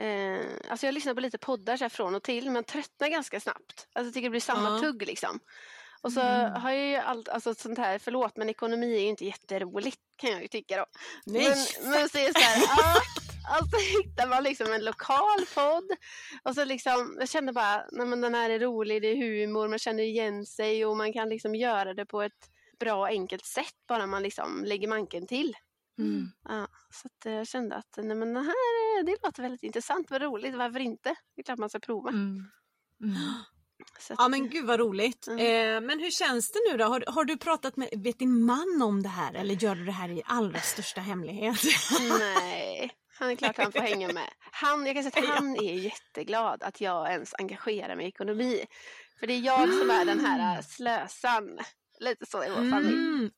[SPEAKER 3] Eh, alltså jag lyssnar på lite poddar så här från och till men tröttnar ganska snabbt. Alltså jag tycker det blir samma
[SPEAKER 1] Ja.
[SPEAKER 3] tugg liksom. Och så
[SPEAKER 1] Mm.
[SPEAKER 3] har jag ju allt, alltså sånt här, förlåt men ekonomi är ju inte jätteroligt kan jag ju tycka då. Men, men så är det så här, ja, alltså hittar man liksom en lokal podd och så liksom, jag kände bara, nej men den här är rolig, det är humor, man känner igen sig och man kan liksom göra det på ett bra enkelt sätt bara man liksom lägger manken till.
[SPEAKER 2] Mm.
[SPEAKER 3] Ja, så att eh, jag kände att nej men den här, eh, det låter väldigt intressant, vad roligt, varför inte? Det är klart man ska prova.
[SPEAKER 2] Mm. Mm.
[SPEAKER 3] Så att,
[SPEAKER 1] Ja men gud vad roligt.
[SPEAKER 3] Mm.
[SPEAKER 1] Eh, men hur känns det nu då? Har, har du pratat med vet din man om det här eller gör du det här i allra största hemlighet?
[SPEAKER 3] Nej, han är klart han får hänga med. Han, jag kan säga att han är jätteglad att jag ens engagerar mig i ekonomi. För det är jag som är den här äh, slösan. Lite så i vår familj.
[SPEAKER 1] Mm.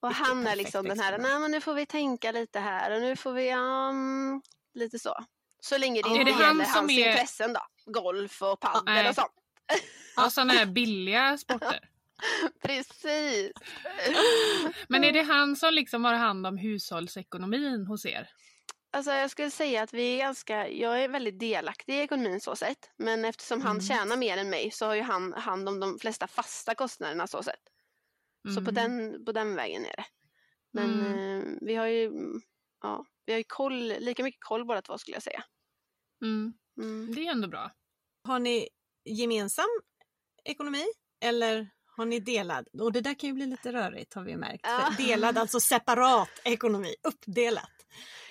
[SPEAKER 3] Och
[SPEAKER 1] vilket
[SPEAKER 3] han är
[SPEAKER 1] perfekt
[SPEAKER 3] liksom den här,
[SPEAKER 1] exempel.
[SPEAKER 3] nej men nu får vi tänka lite här och nu får vi, ja, mm, lite så. Så länge det
[SPEAKER 1] Är
[SPEAKER 3] inte
[SPEAKER 1] det
[SPEAKER 3] gäller
[SPEAKER 2] han
[SPEAKER 3] hans
[SPEAKER 2] som är-
[SPEAKER 3] intressen då. Golf och padel
[SPEAKER 2] Nej.
[SPEAKER 3] och sånt.
[SPEAKER 2] Ja, sådana här billiga sporter.
[SPEAKER 3] Precis.
[SPEAKER 2] Men är det han som liksom har hand om hushållsekonomin hos er?
[SPEAKER 3] Alltså jag skulle säga att vi är ganska, jag är väldigt delaktig i ekonomin så sett. Men eftersom han
[SPEAKER 2] Mm.
[SPEAKER 3] tjänar mer än mig så har ju han hand om de flesta fasta kostnaderna så sett. Så på
[SPEAKER 2] Mm.
[SPEAKER 3] den, på den vägen är det. Men eh, vi har ju, mm, ja, vi har ju koll, lika mycket koll båda två skulle jag säga.
[SPEAKER 2] Mm.
[SPEAKER 3] Mm.
[SPEAKER 2] Det är ändå bra.
[SPEAKER 1] Har ni gemensam ekonomi eller har ni delad? Och det där kan ju bli lite rörigt har vi ju märkt.
[SPEAKER 3] Ja.
[SPEAKER 1] För delad alltså separat ekonomi, uppdelat.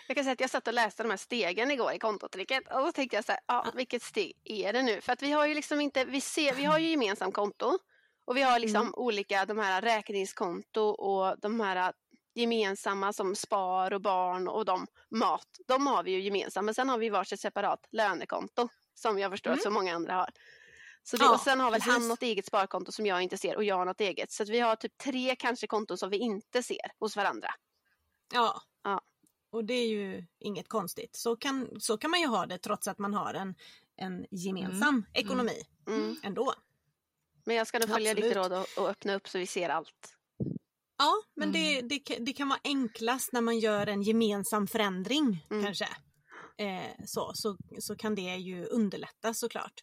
[SPEAKER 3] Jag kan säga att jag satt och läste de här stegen igår i kontotricket och då tänkte jag så här, ja, vilket steg är det nu? För att vi har ju liksom inte, vi ser, vi har ju gemensamt konto och vi har liksom
[SPEAKER 1] Mm.
[SPEAKER 3] olika de här räkningskonto och de här gemensamma som spar och barn och de mat, de har vi ju gemensamt men sen har vi varsitt separat lönekonto som jag förstår att så många andra har. Så det,
[SPEAKER 1] Mm. Ja,
[SPEAKER 3] och sen har väl han
[SPEAKER 1] precis.
[SPEAKER 3] något eget sparkonto som jag inte ser och jag har något eget. Så att vi har typ tre kanske konton som vi inte ser hos varandra.
[SPEAKER 1] Ja.
[SPEAKER 3] Ja.
[SPEAKER 1] Och det är ju inget konstigt. Så kan, så kan man ju ha det trots att man har en, en gemensam ekonomi
[SPEAKER 3] Mm.
[SPEAKER 1] ändå.
[SPEAKER 3] Men jag ska nog följa ditt
[SPEAKER 1] Absolut.
[SPEAKER 3] råd och, och öppna upp så vi ser allt.
[SPEAKER 1] Ja, men det,
[SPEAKER 3] Mm.
[SPEAKER 1] det, ka- det kan vara enklast när man gör en gemensam förändring
[SPEAKER 3] Mm.
[SPEAKER 1] kanske. Eh, så, så, så kan det ju underlätta såklart.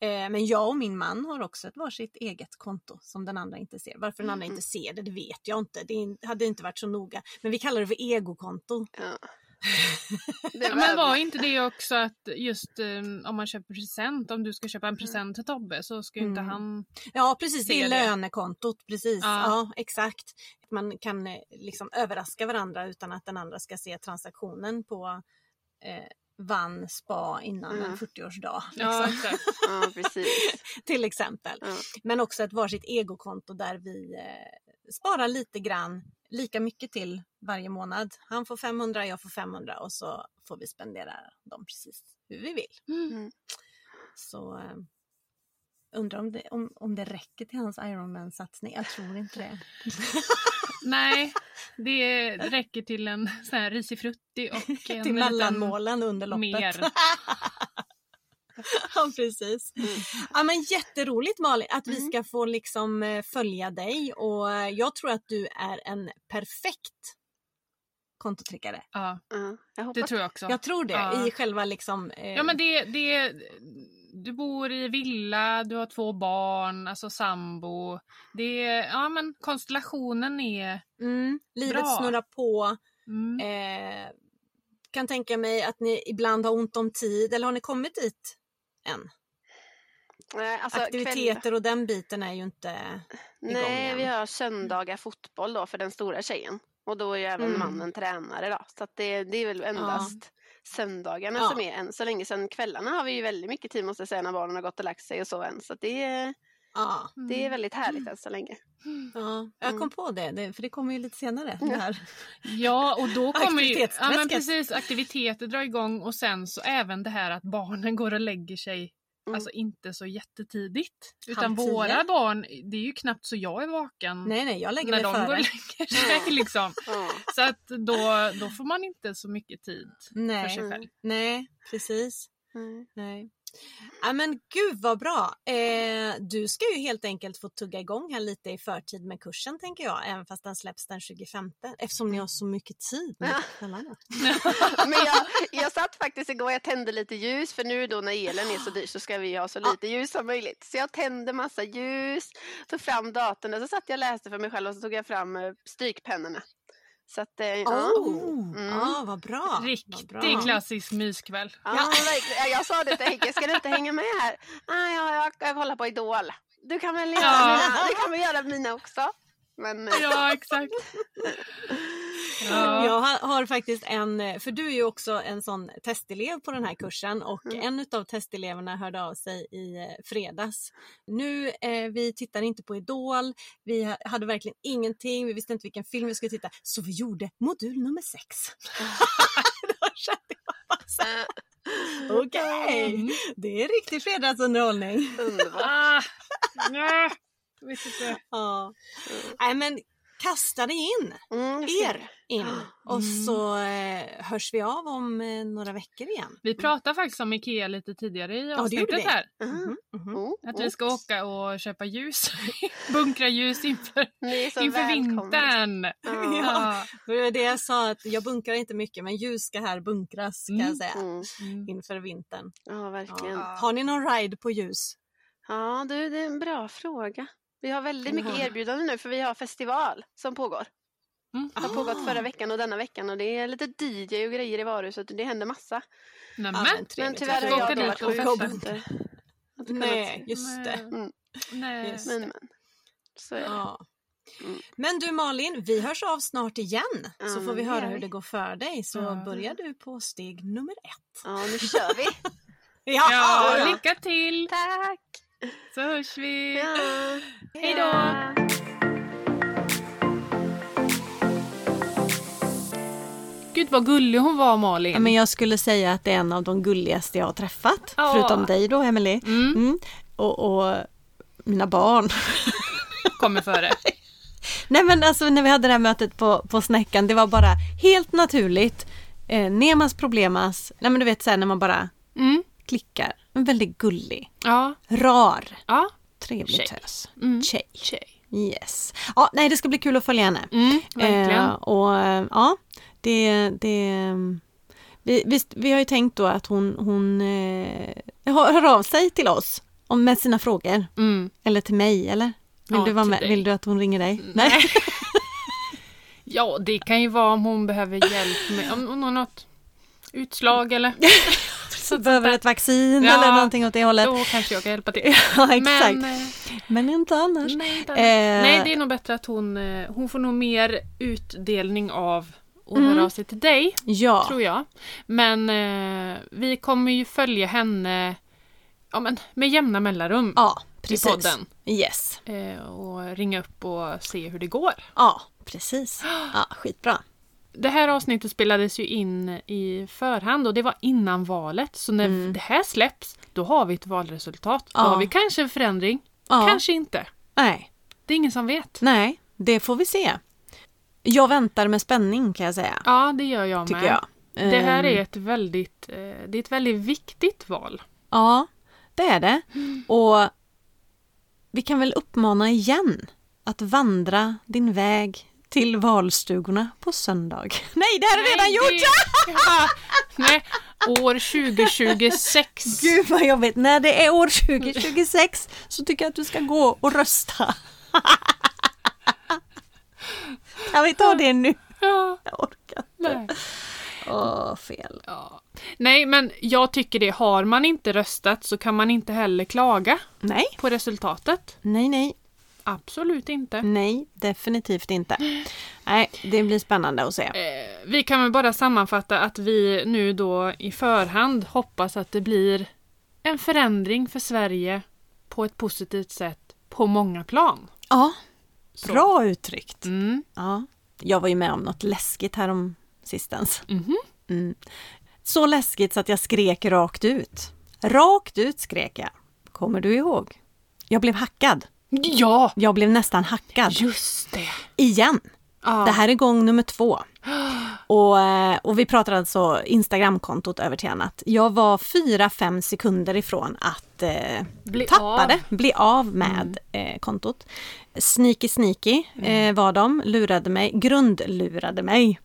[SPEAKER 1] Eh, men jag och min man har också ett varsitt eget konto som den andra inte ser. Varför den andra
[SPEAKER 3] Mhm.
[SPEAKER 1] inte ser det, det vet jag inte. Det in- hade inte varit så noga. Men vi kallar det för egokonto.
[SPEAKER 3] Ja.
[SPEAKER 2] Ja, men var inte det också att just eh, om man köper present, om du ska köpa en present till Tobbe så ska ju inte
[SPEAKER 1] Mm.
[SPEAKER 2] han...
[SPEAKER 1] Ja precis, det är
[SPEAKER 2] Ser det.
[SPEAKER 1] lönekontot. Precis, ja.
[SPEAKER 2] Ja.
[SPEAKER 1] exakt. Man kan eh, liksom överraska varandra utan att den andra ska se transaktionen på eh, vann spa innan
[SPEAKER 3] Mm.
[SPEAKER 1] en 40-årsdag.
[SPEAKER 2] Ja,
[SPEAKER 1] Liksom,
[SPEAKER 2] exakt.
[SPEAKER 3] Ja, precis.
[SPEAKER 1] till exempel.
[SPEAKER 3] Ja.
[SPEAKER 1] Men också ett varsitt egokonto där vi eh, sparar lite grann, lika mycket till varje månad. Han får 500, jag får 500 och så får vi spendera dem precis hur vi vill.
[SPEAKER 3] Mm.
[SPEAKER 1] Så eh, undrar om det, om, om det räcker till hans Ironman-satsning. Jag tror inte det.
[SPEAKER 2] Nej, det räcker till en sån här risifrutti och en
[SPEAKER 1] till mellanmålen under
[SPEAKER 2] liten
[SPEAKER 1] loppet.
[SPEAKER 2] mer.
[SPEAKER 1] Ja, precis. Ja, men jätteroligt Malin att vi
[SPEAKER 3] Mm.
[SPEAKER 1] ska få liksom eh, följa dig och eh, jag tror att du är en perfekt kontotrickare.
[SPEAKER 2] Ja,
[SPEAKER 3] Ja, jag
[SPEAKER 2] det
[SPEAKER 3] hoppas.
[SPEAKER 2] tror jag också.
[SPEAKER 1] Jag tror det
[SPEAKER 2] Ja.
[SPEAKER 1] i själva liksom... eh,
[SPEAKER 2] Ja men det, det, du bor i villa, du har två barn, alltså sambo. Det, ja men konstellationen är...
[SPEAKER 1] mm, livet
[SPEAKER 2] Bra.
[SPEAKER 1] snurrar på.
[SPEAKER 2] Mm.
[SPEAKER 1] Eh, kan tänka mig att ni ibland har ont om tid eller har ni kommit dit än?
[SPEAKER 3] Nej, alltså,
[SPEAKER 1] Aktiviteter
[SPEAKER 3] kväll-
[SPEAKER 1] och den biten är ju inte... igång
[SPEAKER 3] Nej,
[SPEAKER 1] igen.
[SPEAKER 3] vi har söndagar fotboll då för den stora tjejen. Och då är ju även
[SPEAKER 1] Mm.
[SPEAKER 3] mannen tränare då. Så att det, det är väl endast söndagarna
[SPEAKER 1] Ja.
[SPEAKER 3] som är än så länge. Sen kvällarna har vi ju väldigt mycket tid måste jag säga när barnen har gått och lagt sig och så än. Så att det,
[SPEAKER 1] Ja,
[SPEAKER 2] mm.
[SPEAKER 3] Det är väldigt härligt än så länge.
[SPEAKER 1] ja. jag kom
[SPEAKER 3] Mm.
[SPEAKER 1] på det, det, för det kommer ju lite senare.
[SPEAKER 2] Mm.
[SPEAKER 1] Det här.
[SPEAKER 2] Ja, och då kommer ju ja, men
[SPEAKER 1] Aktivitetsväskan.
[SPEAKER 2] precis, aktiviteter drar igång och sen så även det här att barnen går och lägger sig
[SPEAKER 3] Mm.
[SPEAKER 2] Alltså inte så jättetidigt. Utan
[SPEAKER 1] Halv tio.
[SPEAKER 2] våra barn, det är ju knappt så jag är vaken
[SPEAKER 1] Nej, nej, jag lägger
[SPEAKER 2] när
[SPEAKER 1] mig
[SPEAKER 2] de går och
[SPEAKER 1] före.
[SPEAKER 2] lägger sig. Liksom.
[SPEAKER 3] Ja.
[SPEAKER 2] Så att då, då får man inte så mycket tid för
[SPEAKER 1] Nej,
[SPEAKER 2] sig själv.
[SPEAKER 1] nej, precis.
[SPEAKER 3] Mm.
[SPEAKER 1] Nej. Ja, men gud vad bra! Eh, du ska ju helt enkelt få tugga igång här lite i förtid med kursen tänker jag, även fast den släpps den 25 eftersom ni har så mycket tid med
[SPEAKER 3] Ja.
[SPEAKER 1] kvällarna.
[SPEAKER 3] Men jag, jag satt faktiskt igår, jag tände lite ljus för nu då när elen är så dyr så ska vi ha så lite ljus som möjligt. Så jag tände massa ljus, tog fram datorn och så satt jag och läste för mig själv och så tog jag fram eh, strykpennorna. Så att, eh, ja.
[SPEAKER 1] Oh,
[SPEAKER 3] Mm.
[SPEAKER 1] ja, vad bra! vad bra.
[SPEAKER 2] Riktig klassisk myskväll.
[SPEAKER 3] Ja, verkligen. Jag sa det till Henke, ska du inte hänga med här? Nej, jag, jag, jag kollar på Idol. Du kan väl göra,
[SPEAKER 2] Ja.
[SPEAKER 3] mina, du kan väl göra mina också? Men, eh,
[SPEAKER 2] Ja, exakt. Ja.
[SPEAKER 1] Jag har, har faktiskt en, eh, för du är ju också en sån testelev på den här kursen och en utav testeleverna hörde av sig i eh, fredags. Nu, eh, vi tittar inte på Idol, vi ha- hade verkligen ingenting, vi visste inte vilken film vi skulle titta, så vi gjorde modul nummer sex. Då kände jag bara så här,
[SPEAKER 3] eh,
[SPEAKER 1] Okej,
[SPEAKER 2] Mm.
[SPEAKER 1] det är riktig fredagsunderhållning.
[SPEAKER 3] underbart.
[SPEAKER 2] Ah, nej, vet inte.
[SPEAKER 1] Ja. Nej men kasta dig in,
[SPEAKER 3] Mm, jag ser
[SPEAKER 1] er in och så eh, hörs vi av om eh, några veckor igen.
[SPEAKER 2] Vi pratade faktiskt om Ikea lite tidigare i
[SPEAKER 1] det gjorde
[SPEAKER 2] avsnittet
[SPEAKER 1] vi.
[SPEAKER 2] här.
[SPEAKER 3] det. Mm.
[SPEAKER 1] Mhm.
[SPEAKER 3] Mm.
[SPEAKER 2] Att vi ska åka och köpa ljus. Bunkra ljus inför,
[SPEAKER 3] Ni är så
[SPEAKER 2] inför
[SPEAKER 3] välkomna.
[SPEAKER 2] vintern.
[SPEAKER 3] Ja.
[SPEAKER 2] Ja.
[SPEAKER 1] För Det var det jag sa, att jag bunkrar inte mycket men ljus ska här bunkras kan
[SPEAKER 2] Mm.
[SPEAKER 1] jag säga.
[SPEAKER 3] Mm.
[SPEAKER 2] Mm.
[SPEAKER 1] Inför vintern.
[SPEAKER 3] Ja, verkligen.
[SPEAKER 1] Ja.
[SPEAKER 3] Ja.
[SPEAKER 1] Har ni någon ride på ljus?
[SPEAKER 3] du, det är en bra fråga. Vi har väldigt mycket
[SPEAKER 1] Ja.
[SPEAKER 3] erbjudanden nu för vi har festival som pågår.
[SPEAKER 2] Mm.
[SPEAKER 3] Det har pågått
[SPEAKER 1] Ah.
[SPEAKER 3] förra veckan och denna veckan och det är lite DJ och grejer i varuhuset och det händer massa.
[SPEAKER 1] Ja,
[SPEAKER 2] Nämen.
[SPEAKER 1] trevligt.
[SPEAKER 3] Men tyvärr
[SPEAKER 2] Vi
[SPEAKER 3] har
[SPEAKER 2] åka
[SPEAKER 3] jag då
[SPEAKER 2] dit
[SPEAKER 3] varit
[SPEAKER 2] och
[SPEAKER 3] sjuk.
[SPEAKER 2] festa.
[SPEAKER 3] så att, eh, jag har inte kunnat
[SPEAKER 1] Nej,
[SPEAKER 3] se.
[SPEAKER 1] just det.
[SPEAKER 2] Nej.
[SPEAKER 3] Mm.
[SPEAKER 2] Nej.
[SPEAKER 1] Just.
[SPEAKER 3] Men, men. Så är det.
[SPEAKER 1] Ja.
[SPEAKER 3] Mm.
[SPEAKER 1] Men du Malin, vi hörs av snart igen
[SPEAKER 3] Ja,
[SPEAKER 1] så får
[SPEAKER 3] men
[SPEAKER 1] vi
[SPEAKER 3] det
[SPEAKER 1] höra
[SPEAKER 3] gör
[SPEAKER 1] hur
[SPEAKER 3] vi.
[SPEAKER 1] det går för dig. Så
[SPEAKER 2] Ja.
[SPEAKER 1] börjar du på steg nummer ett.
[SPEAKER 3] Ja, nu kör vi.
[SPEAKER 2] Ja,
[SPEAKER 3] Ja.
[SPEAKER 2] lycka till
[SPEAKER 3] Tack!
[SPEAKER 2] så hörs vi.
[SPEAKER 3] Ja.
[SPEAKER 2] Hej då.
[SPEAKER 3] Ja.
[SPEAKER 2] Gud vad gullig hon var Malin.
[SPEAKER 1] Ja, men jag skulle säga att det är en av de gulligaste jag har träffat.
[SPEAKER 2] Ja.
[SPEAKER 1] Förutom dig då Emelie.
[SPEAKER 2] Mm,
[SPEAKER 1] Mm. Och, och mina barn.
[SPEAKER 2] kommer före.
[SPEAKER 1] Nej men alltså när vi hade det här mötet på, på Snäckan, det var bara helt naturligt. Eh, Nemas problemas, nej men du vet såhär när man bara
[SPEAKER 2] Mm.
[SPEAKER 1] klickar. Men väldigt gullig,
[SPEAKER 2] Ja,
[SPEAKER 1] rar,
[SPEAKER 2] ja.
[SPEAKER 1] trevlig
[SPEAKER 2] Tjej.
[SPEAKER 1] tös.
[SPEAKER 2] Mm.
[SPEAKER 1] Tjej.
[SPEAKER 2] Tjej.
[SPEAKER 1] Yes. Ja, nej det ska bli kul att följa henne.
[SPEAKER 2] Mm, verkligen.
[SPEAKER 1] Eh, och eh, ja, det, det mm, vi, visst, vi har ju tänkt då att hon, hon eh, hör hör av sig till oss om, med sina frågor.
[SPEAKER 2] Mm.
[SPEAKER 1] Eller till mig eller? Vill,
[SPEAKER 2] Ja,
[SPEAKER 1] du, vara
[SPEAKER 2] till
[SPEAKER 1] med?
[SPEAKER 2] dig. Mm.
[SPEAKER 1] Vill du att hon ringer dig? Nej.
[SPEAKER 2] Ja, det kan ju vara om hon behöver hjälp med om hon har något utslag eller
[SPEAKER 1] Så behöver ett vaccin
[SPEAKER 2] Ja.
[SPEAKER 1] eller någonting åt det hållet.
[SPEAKER 2] då kanske jag kan hjälpa till.
[SPEAKER 1] Ja, exakt.
[SPEAKER 2] Men, Mm.
[SPEAKER 1] Men,
[SPEAKER 2] eh,
[SPEAKER 1] inte annars.
[SPEAKER 2] nej, inte annars.
[SPEAKER 1] Eh,
[SPEAKER 2] nej, det är nog bättre att hon, eh, hon får nog mer utdelning av att höra av sig till dig,
[SPEAKER 1] Mm. Ja,
[SPEAKER 2] tror jag. Men eh, vi kommer ju följa henne ja, men, med jämna mellanrum
[SPEAKER 1] ja
[SPEAKER 2] i
[SPEAKER 1] precis.
[SPEAKER 2] podden.
[SPEAKER 1] Yes.
[SPEAKER 2] Eh, och ringa upp och se hur det går.
[SPEAKER 1] Ja, precis. Ja, skitbra.
[SPEAKER 2] Det här avsnittet spelades ju in i förhand och det var innan valet. Så när det här släpps, då har vi ett valresultat. Då
[SPEAKER 1] Mm. Ja.
[SPEAKER 2] har vi kanske en förändring,
[SPEAKER 1] Ja.
[SPEAKER 2] kanske inte.
[SPEAKER 1] Nej,
[SPEAKER 2] Det är ingen som vet.
[SPEAKER 1] nej, det får vi se. Jag väntar med spänning kan jag säga,
[SPEAKER 2] Ja, det gör jag
[SPEAKER 1] tycker
[SPEAKER 2] med.
[SPEAKER 1] jag.
[SPEAKER 2] Det här
[SPEAKER 1] Ehm,
[SPEAKER 2] är ett väldigt, eh, det är ett väldigt viktigt val.
[SPEAKER 1] Ja, det är det.
[SPEAKER 2] Mm.
[SPEAKER 1] Och vi kan väl uppmana igen att vandra din väg till valstugorna på söndag. Nej, det har jag redan gjort!
[SPEAKER 2] det- Ja, nej, år 2026.
[SPEAKER 1] Gud vad jobbigt! När det är år 2026 så tycker jag att du ska gå och rösta. Kan vi ta det nu?
[SPEAKER 2] Ja,
[SPEAKER 1] Jag orkar inte.
[SPEAKER 2] nej.
[SPEAKER 1] Åh, fel.
[SPEAKER 2] Ja. nej, men jag tycker det. Har man inte röstat så kan man inte heller klaga
[SPEAKER 1] Nej,
[SPEAKER 2] på resultatet.
[SPEAKER 1] nej, nej,
[SPEAKER 2] Absolut inte.
[SPEAKER 1] nej, definitivt inte. Nej, det blir spännande att se.
[SPEAKER 2] Eh, vi kan väl bara sammanfatta att vi nu då i förhand hoppas att det blir en förändring för Sverige på ett positivt sätt på många plan.
[SPEAKER 1] Ja,
[SPEAKER 2] Så.
[SPEAKER 1] bra uttryckt.
[SPEAKER 2] Mm.
[SPEAKER 1] Ja. Jag var ju med om något läskigt härom sistens.
[SPEAKER 2] Mhm.
[SPEAKER 1] Mm. Så läskigt så att jag skrek rakt ut. Rakt ut skrek jag. Kommer du ihåg? Jag blev hackad.
[SPEAKER 2] Ja,
[SPEAKER 1] Jag blev nästan hackad.
[SPEAKER 2] just det.
[SPEAKER 1] Igen.
[SPEAKER 2] Ja.
[SPEAKER 1] Det här är gång nummer två. Och, eh, och vi pratar alltså Instagramkontot över till annat. Jag var fyra fem sekunder ifrån att eh,
[SPEAKER 2] Bli
[SPEAKER 1] tappade,
[SPEAKER 2] av. Mm.
[SPEAKER 1] bli av med eh, kontot. Sneaky sneaky eh, var de, lurade mig, grundlurade mig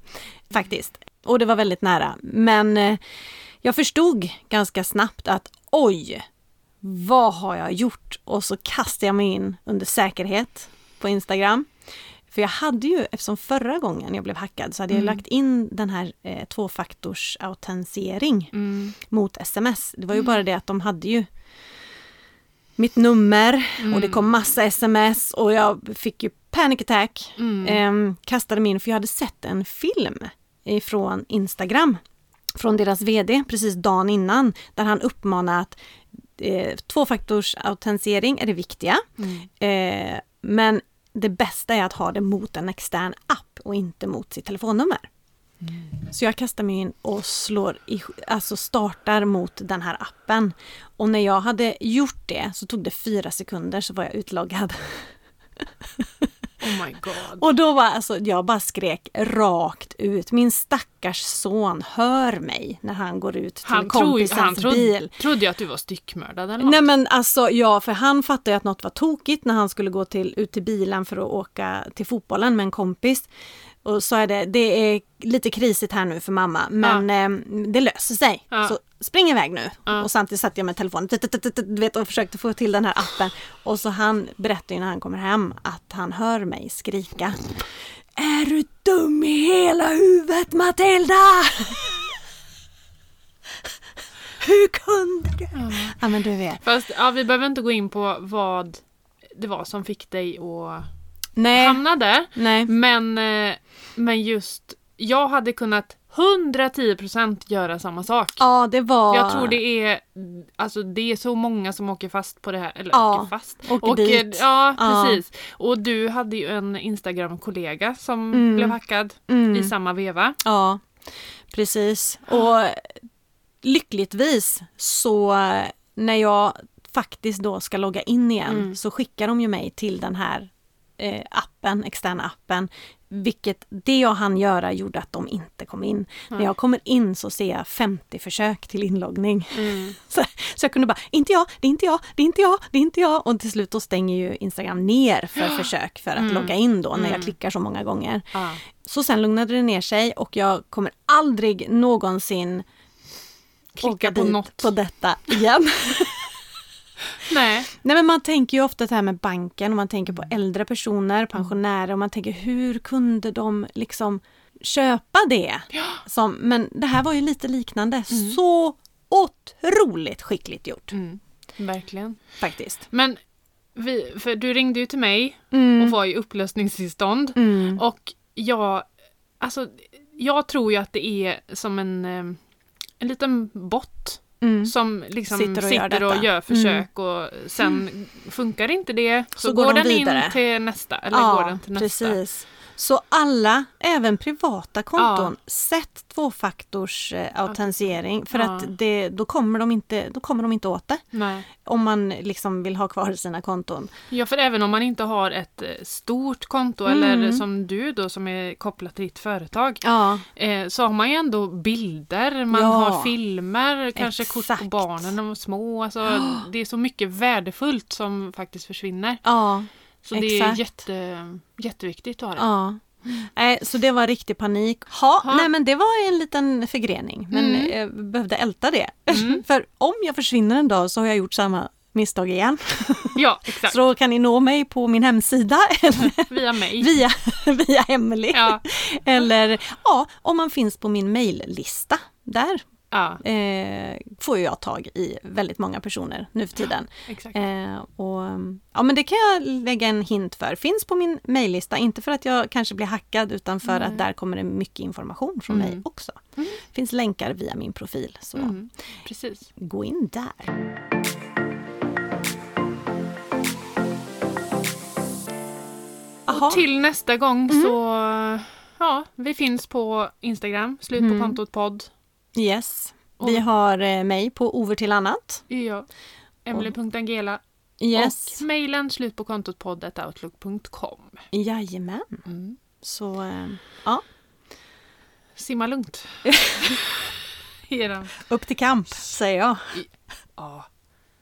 [SPEAKER 1] faktiskt. Och det var väldigt nära. Men eh, jag förstod ganska snabbt att oj, vad har jag gjort? Och så kastade jag mig in under säkerhet på Instagram. För jag hade ju, eftersom förra gången jag blev hackad, så hade jag lagt in den här eh, tvåfaktorsautentisering
[SPEAKER 2] Mm.
[SPEAKER 1] mot sms. Det var ju bara det att de hade ju mitt nummer och det kom massa sms och jag fick ju panic attack.
[SPEAKER 2] Mm.
[SPEAKER 1] Ehm, kastade mig in för jag hade sett en film från Instagram från deras VD precis dagen innan där han uppmanar att eh, tvåfaktorsautentisering är det viktiga. Eh, men det bästa är att ha det mot en extern app och inte mot sitt telefonnummer. Så jag kastar mig in och slår i, alltså startar mot den här appen. Och när jag hade gjort det så tog det fyra sekunder så var jag utloggad.
[SPEAKER 2] Oh my god.
[SPEAKER 1] Och då var alltså, jag bara skrek rakt ut. Min stackars son hör mig när han går ut till
[SPEAKER 2] Han, tro,
[SPEAKER 1] kompisens
[SPEAKER 2] han trodde,
[SPEAKER 1] bil.
[SPEAKER 2] trodde ju att du var styckmördad eller något.
[SPEAKER 1] Nej men alltså ja, för han fattade ju att något var tokigt när han skulle gå till, ut till bilen för att åka till fotbollen med en kompis. Och sa jag det, det är lite krisigt här nu för mamma men eh, det löser sig.
[SPEAKER 2] Ja.
[SPEAKER 1] Så spring iväg nu.
[SPEAKER 2] Ja.
[SPEAKER 1] Och samtidigt satt jag med telefonen tut, tut, tut, tut, du vet, och försökte få till den här appen. Och så han berättar ju när han kommer hem att han hör mig skrika. Är du dum i hela huvudet Matilda? Hur kunde du? Ja men du vet.
[SPEAKER 2] Fast ja, vi behöver inte gå in på vad det var som fick dig att
[SPEAKER 1] Nej.
[SPEAKER 2] hamna där.
[SPEAKER 1] Nej.
[SPEAKER 2] Men, eh, men just, jag hade kunnat 110% göra samma sak.
[SPEAKER 1] Ja, det var...
[SPEAKER 2] Jag tror det är, alltså det är så många som åker fast på det här. Eller
[SPEAKER 1] Ja,
[SPEAKER 2] åker fast.
[SPEAKER 1] åker dit.
[SPEAKER 2] Ja,
[SPEAKER 1] Ja.
[SPEAKER 2] precis. Och du hade ju en Instagram-kollega som
[SPEAKER 1] Mm.
[SPEAKER 2] blev hackad
[SPEAKER 1] Mm.
[SPEAKER 2] i samma veva.
[SPEAKER 1] Ja, precis.
[SPEAKER 2] Ah.
[SPEAKER 1] Och lyckligtvis så eh, när jag faktiskt då ska logga in igen
[SPEAKER 2] Mm.
[SPEAKER 1] så skickar de ju mig till den här eh, appen, externa appen. Vilket det jag hann göra gjorde att de inte kom in.
[SPEAKER 2] Ah.
[SPEAKER 1] När jag kommer in så ser jag 50 försök till inloggning.
[SPEAKER 2] Mm.
[SPEAKER 1] Så, så jag kunde bara, inte jag, det är inte jag, det är inte jag, det är inte jag. Och till slut då stänger ju Instagram ner för försök för att logga in då när jag klickar så många gånger.
[SPEAKER 2] Mm. Ja.
[SPEAKER 1] Så sen lugnade det ner sig och jag kommer aldrig någonsin
[SPEAKER 2] Klicka
[SPEAKER 1] åka
[SPEAKER 2] på
[SPEAKER 1] dit
[SPEAKER 2] något.
[SPEAKER 1] på detta igen.
[SPEAKER 2] Nej.
[SPEAKER 1] Nej men man tänker ju ofta det här med banken och man tänker på äldre
[SPEAKER 2] Mm.
[SPEAKER 1] personer, pensionärer och man tänker hur kunde de liksom köpa det? Som, men det här var ju lite liknande. Så otroligt skickligt gjort
[SPEAKER 2] Mm. Verkligen.
[SPEAKER 1] faktiskt.
[SPEAKER 2] Men vi, för du ringde ju till mig Mm. och var i upplösningstillstånd.
[SPEAKER 1] Mm.
[SPEAKER 2] Och jag, alltså, jag tror ju att det är som en, eh, en liten bot
[SPEAKER 1] Mm.
[SPEAKER 2] som liksom
[SPEAKER 1] Sitter
[SPEAKER 2] sitter
[SPEAKER 1] och
[SPEAKER 2] och,
[SPEAKER 1] gör
[SPEAKER 2] gör,
[SPEAKER 1] detta. Mm.
[SPEAKER 2] försök och sen funkar inte det så,
[SPEAKER 1] Så
[SPEAKER 2] går,
[SPEAKER 1] går de
[SPEAKER 2] den
[SPEAKER 1] vidare.
[SPEAKER 2] in till nästa. Eller går den till nästa.
[SPEAKER 1] precis. Så alla, även privata konton, sätt tvåfaktorsautentisering för
[SPEAKER 2] Ja.
[SPEAKER 1] att det, då, kommer de inte, då kommer de inte åt det.
[SPEAKER 2] Nej.
[SPEAKER 1] Om man liksom vill ha kvar sina konton.
[SPEAKER 2] Ja, för även om man inte har ett eh, stort konto
[SPEAKER 1] Mm.
[SPEAKER 2] eller som du då som är kopplat till ditt företag
[SPEAKER 1] Ja,
[SPEAKER 2] eh, så har man ju ändå bilder, man
[SPEAKER 1] Ja.
[SPEAKER 2] har filmer, kanske kort på
[SPEAKER 1] Exakt.
[SPEAKER 2] barnen när de var små. Alltså, Det är så mycket värdefullt som faktiskt försvinner.
[SPEAKER 1] ja,
[SPEAKER 2] Så det är
[SPEAKER 1] Exakt.
[SPEAKER 2] jätte, jätteviktigt att ha det.
[SPEAKER 1] ja. Nej, så det var riktig panik. Ha,
[SPEAKER 2] Ha. Mm.
[SPEAKER 1] Nej men det var en liten förgrening men jag behövde älta det. för om jag försvinner en dag så har jag gjort samma misstag igen.
[SPEAKER 2] Ja, exakt.
[SPEAKER 1] Så då kan ni nå mig på min hemsida eller
[SPEAKER 2] Via mig.
[SPEAKER 1] via, via Emily.
[SPEAKER 2] Ja.
[SPEAKER 1] Eller ja, om man finns på min mejllista. Där
[SPEAKER 2] Ja,
[SPEAKER 1] eh, får ju jag tag i väldigt många personer nu för tiden.
[SPEAKER 2] exakt.
[SPEAKER 1] Eh, och, ja, men det kan jag lägga en hint för. Finns på min mejllista, inte för att jag kanske blir hackad utan för
[SPEAKER 2] Mm.
[SPEAKER 1] att där kommer det mycket information från mig också. finns länkar via min profil, så
[SPEAKER 2] Mm, precis.
[SPEAKER 1] gå in där. Jaha.
[SPEAKER 2] Till nästa gång så ja, vi finns på Instagram, slut på kontot podd.
[SPEAKER 1] Yes. Vi har eh, mig på Over till annat.
[SPEAKER 2] Ja. Emily.angela
[SPEAKER 1] Yes.
[SPEAKER 2] och mejlen slut på kontot podd.outlook.com.
[SPEAKER 1] Jajamän.
[SPEAKER 2] Mm.
[SPEAKER 1] Så eh, ja,
[SPEAKER 2] Simma lugnt. I eran-
[SPEAKER 1] upp till kamp säger jag.
[SPEAKER 2] Ja.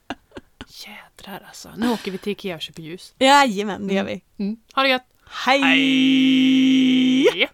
[SPEAKER 2] Jädrar alltså. Nu åker vi till Ikea och köper ljus.
[SPEAKER 1] Mm. Jajamän, det gör vi.
[SPEAKER 2] Mm. Ha det gött!
[SPEAKER 1] Hej!
[SPEAKER 2] Hej.